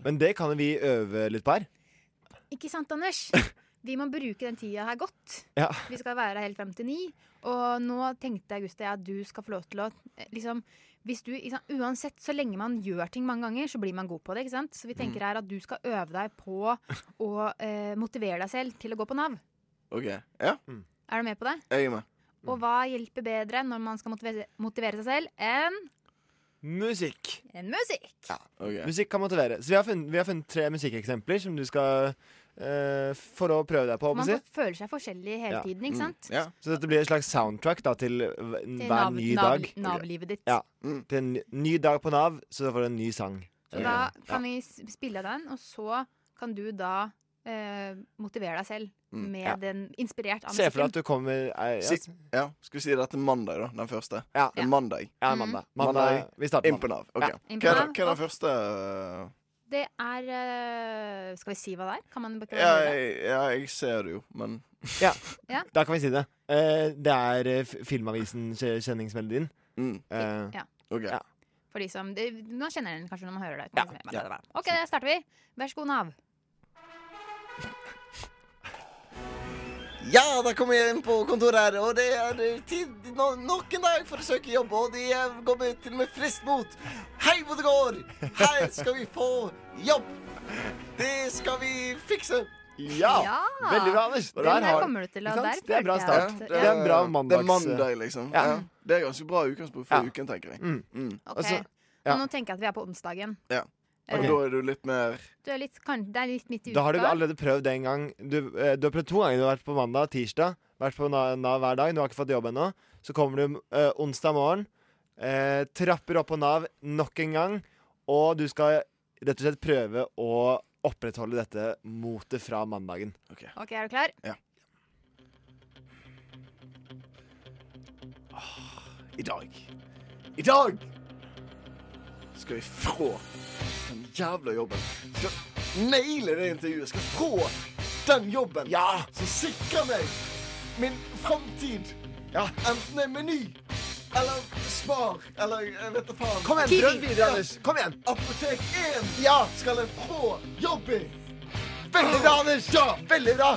Men det kan jo vi øve litt på her. Ikke sant, Anders? Vi må bruke den tida her godt. Ja. Vi skal være her helt frem til ni. Og nå tenkte Augusta at du skal få lov til å eh, liksom, hvis du, ikke sant, Uansett, så lenge man gjør ting mange ganger, så blir man god på det. ikke sant? Mm. Så vi tenker her at du skal øve deg på å eh, motivere deg selv til å gå på Nav. OK. Ja, Mm. Er du med på det? jeg er med. Og hva hjelper bedre når man skal motivere, motivere seg selv, enn Musikk. en musikk? Musikk kan motivere. Så vi har funnet, vi har funnet tre musikkeksempler som du skal eh, For å prøve deg på. Man håper jeg å si. føler seg forskjellig hele Ja. tiden, Mm. ikke sant? Så dette blir et slags soundtrack da, til hver Nav- ny Nav- dag. Nav-livet ditt. Ja. Mm. Til en ny- ny dag på Nav, så får du en ny sang. Så da kan vi s- spille den, og så kan du da eh, motivere deg selv Mm, med ja. den inspirert av Se for deg at musikken. du kommer eh, Si, ja, Skal vi si det til mandag, da? Den første? Ja. Det er mandag. Ja, det er mandag. Mandag- vi starter Inn på Nav. ok. Ja. Inn på Hva er det- Nav, hva er og- den første eh, Det er eh, Skal vi si hva det er? Kan man ikke ja bare jeg, ja, jeg ser det jo, men Ja. Ja. Da kan vi si det. Eh, det er eh, f- Filmavisen kje- kjenningsmelodien. Mm. Eh, Ja. ja. For de som det, Man kjenner den kanskje når man hører det. uten at man- Ja. OK, da starter vi. Vær så god, Nav. Ja, da kommer jeg inn på kontoret her, og det er eh, tid no, nok en dag for å søke jobb, og de eh, går med, til og med friskt mot. Hei, hvor det går! Her skal vi få jobb! Det skal vi fikse! Ja! Veldig bra, Anders. Den der kommer du til å- Ikke sant? Det der er en bra følte jeg start. at- Det er en bra Det er mandags... mandag, liksom. Ja. Ja. Det er ganske bra utgangspunkt for Ja. uken, tenker jeg. Mm. Ok, Altså, Og Nå tenker jeg at vi er på onsdagen. ja. Og Ok. da er du litt mer Du er litt, kan, det er litt midt i uka. Da har du allerede prøvd en gang. Du, eh, du har prøvd to ganger. Du har vært på mandag, tirsdag, vært på Na- Nav hver dag. Du har ikke fått jobb ennå. Så kommer du eh, onsdag morgen, eh, trapper opp på Nav nok en gang, og du skal rett og slett prøve å opprettholde dette motet fra mandagen. OK, er du klar? Ja. I dag. I dag skal jeg frå den jævla jobben. Skal naile det intervjuet. Skal frå den jobben som sikrer meg min framtid. Enten en meny eller Spar eller jeg vet da faen. Kom igjen, Kiwi. prøv videre, Anders. Kom igjen. Apotek 1 skal jeg frå jobb i. Veldig bra, Anders. Ja, veldig bra.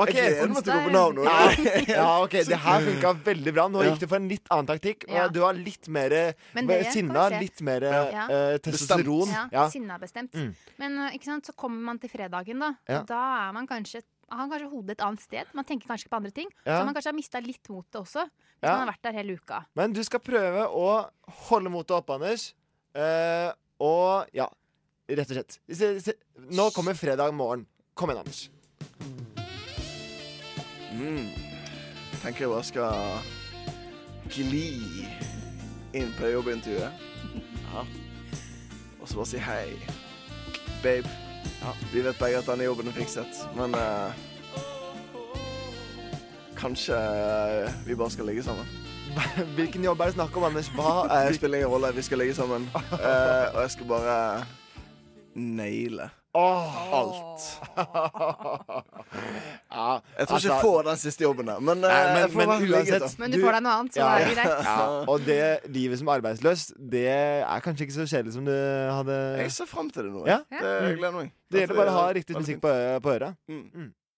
Ok, Jeg gleder meg til å gå på onsdag. Nav nå. Ja, ja, ok, Det her funka veldig bra. Nå Ja. gikk du for en litt annen taktikk. og Ja. Du var litt mer Men det kan sinna, vi se. litt mer Ja. eh, testosteron. Ja, Ja. sinna bestemt. Mm. Men øh, ikke sant, så kommer man til fredagen, da. Ja. Og da er man kanskje har kanskje hodet et annet sted. Man tenker kanskje på andre ting. Ja. Så man kanskje har mista litt motet også. Hvis Ja. man har vært der hele uka. Men du skal prøve å holde motet oppe, Anders. Eh, og ja, rett og slett. Se, se. Nå kommer fredag morgen. Kom igjen, Anders. Mm. Tenker jeg bare skal gli inn på det jobbintervjuet. Ja. Og så bare si hei. Babe. Vi vet begge at denne jobben er fikset, men eh, Kanskje eh, vi bare skal ligge sammen. Hvilken jobb er det snakk om, Anders? Hva Det spiller ingen rolle. Vi skal ligge sammen. Eh, og jeg skal bare naile alt. jeg tror ikke jeg altså- får den siste jobben der, men, eh, Nei, jeg får men i hvert fall ligget, uansett, da. Ja, og det livet som arbeidsløs, det er kanskje ikke så kjedelig som du hadde Jeg ser fram til det nå. Ja. Det jeg gleder meg. Det gjelder bare å ha Dette er riktig musikk på, ø- på øret. Mm.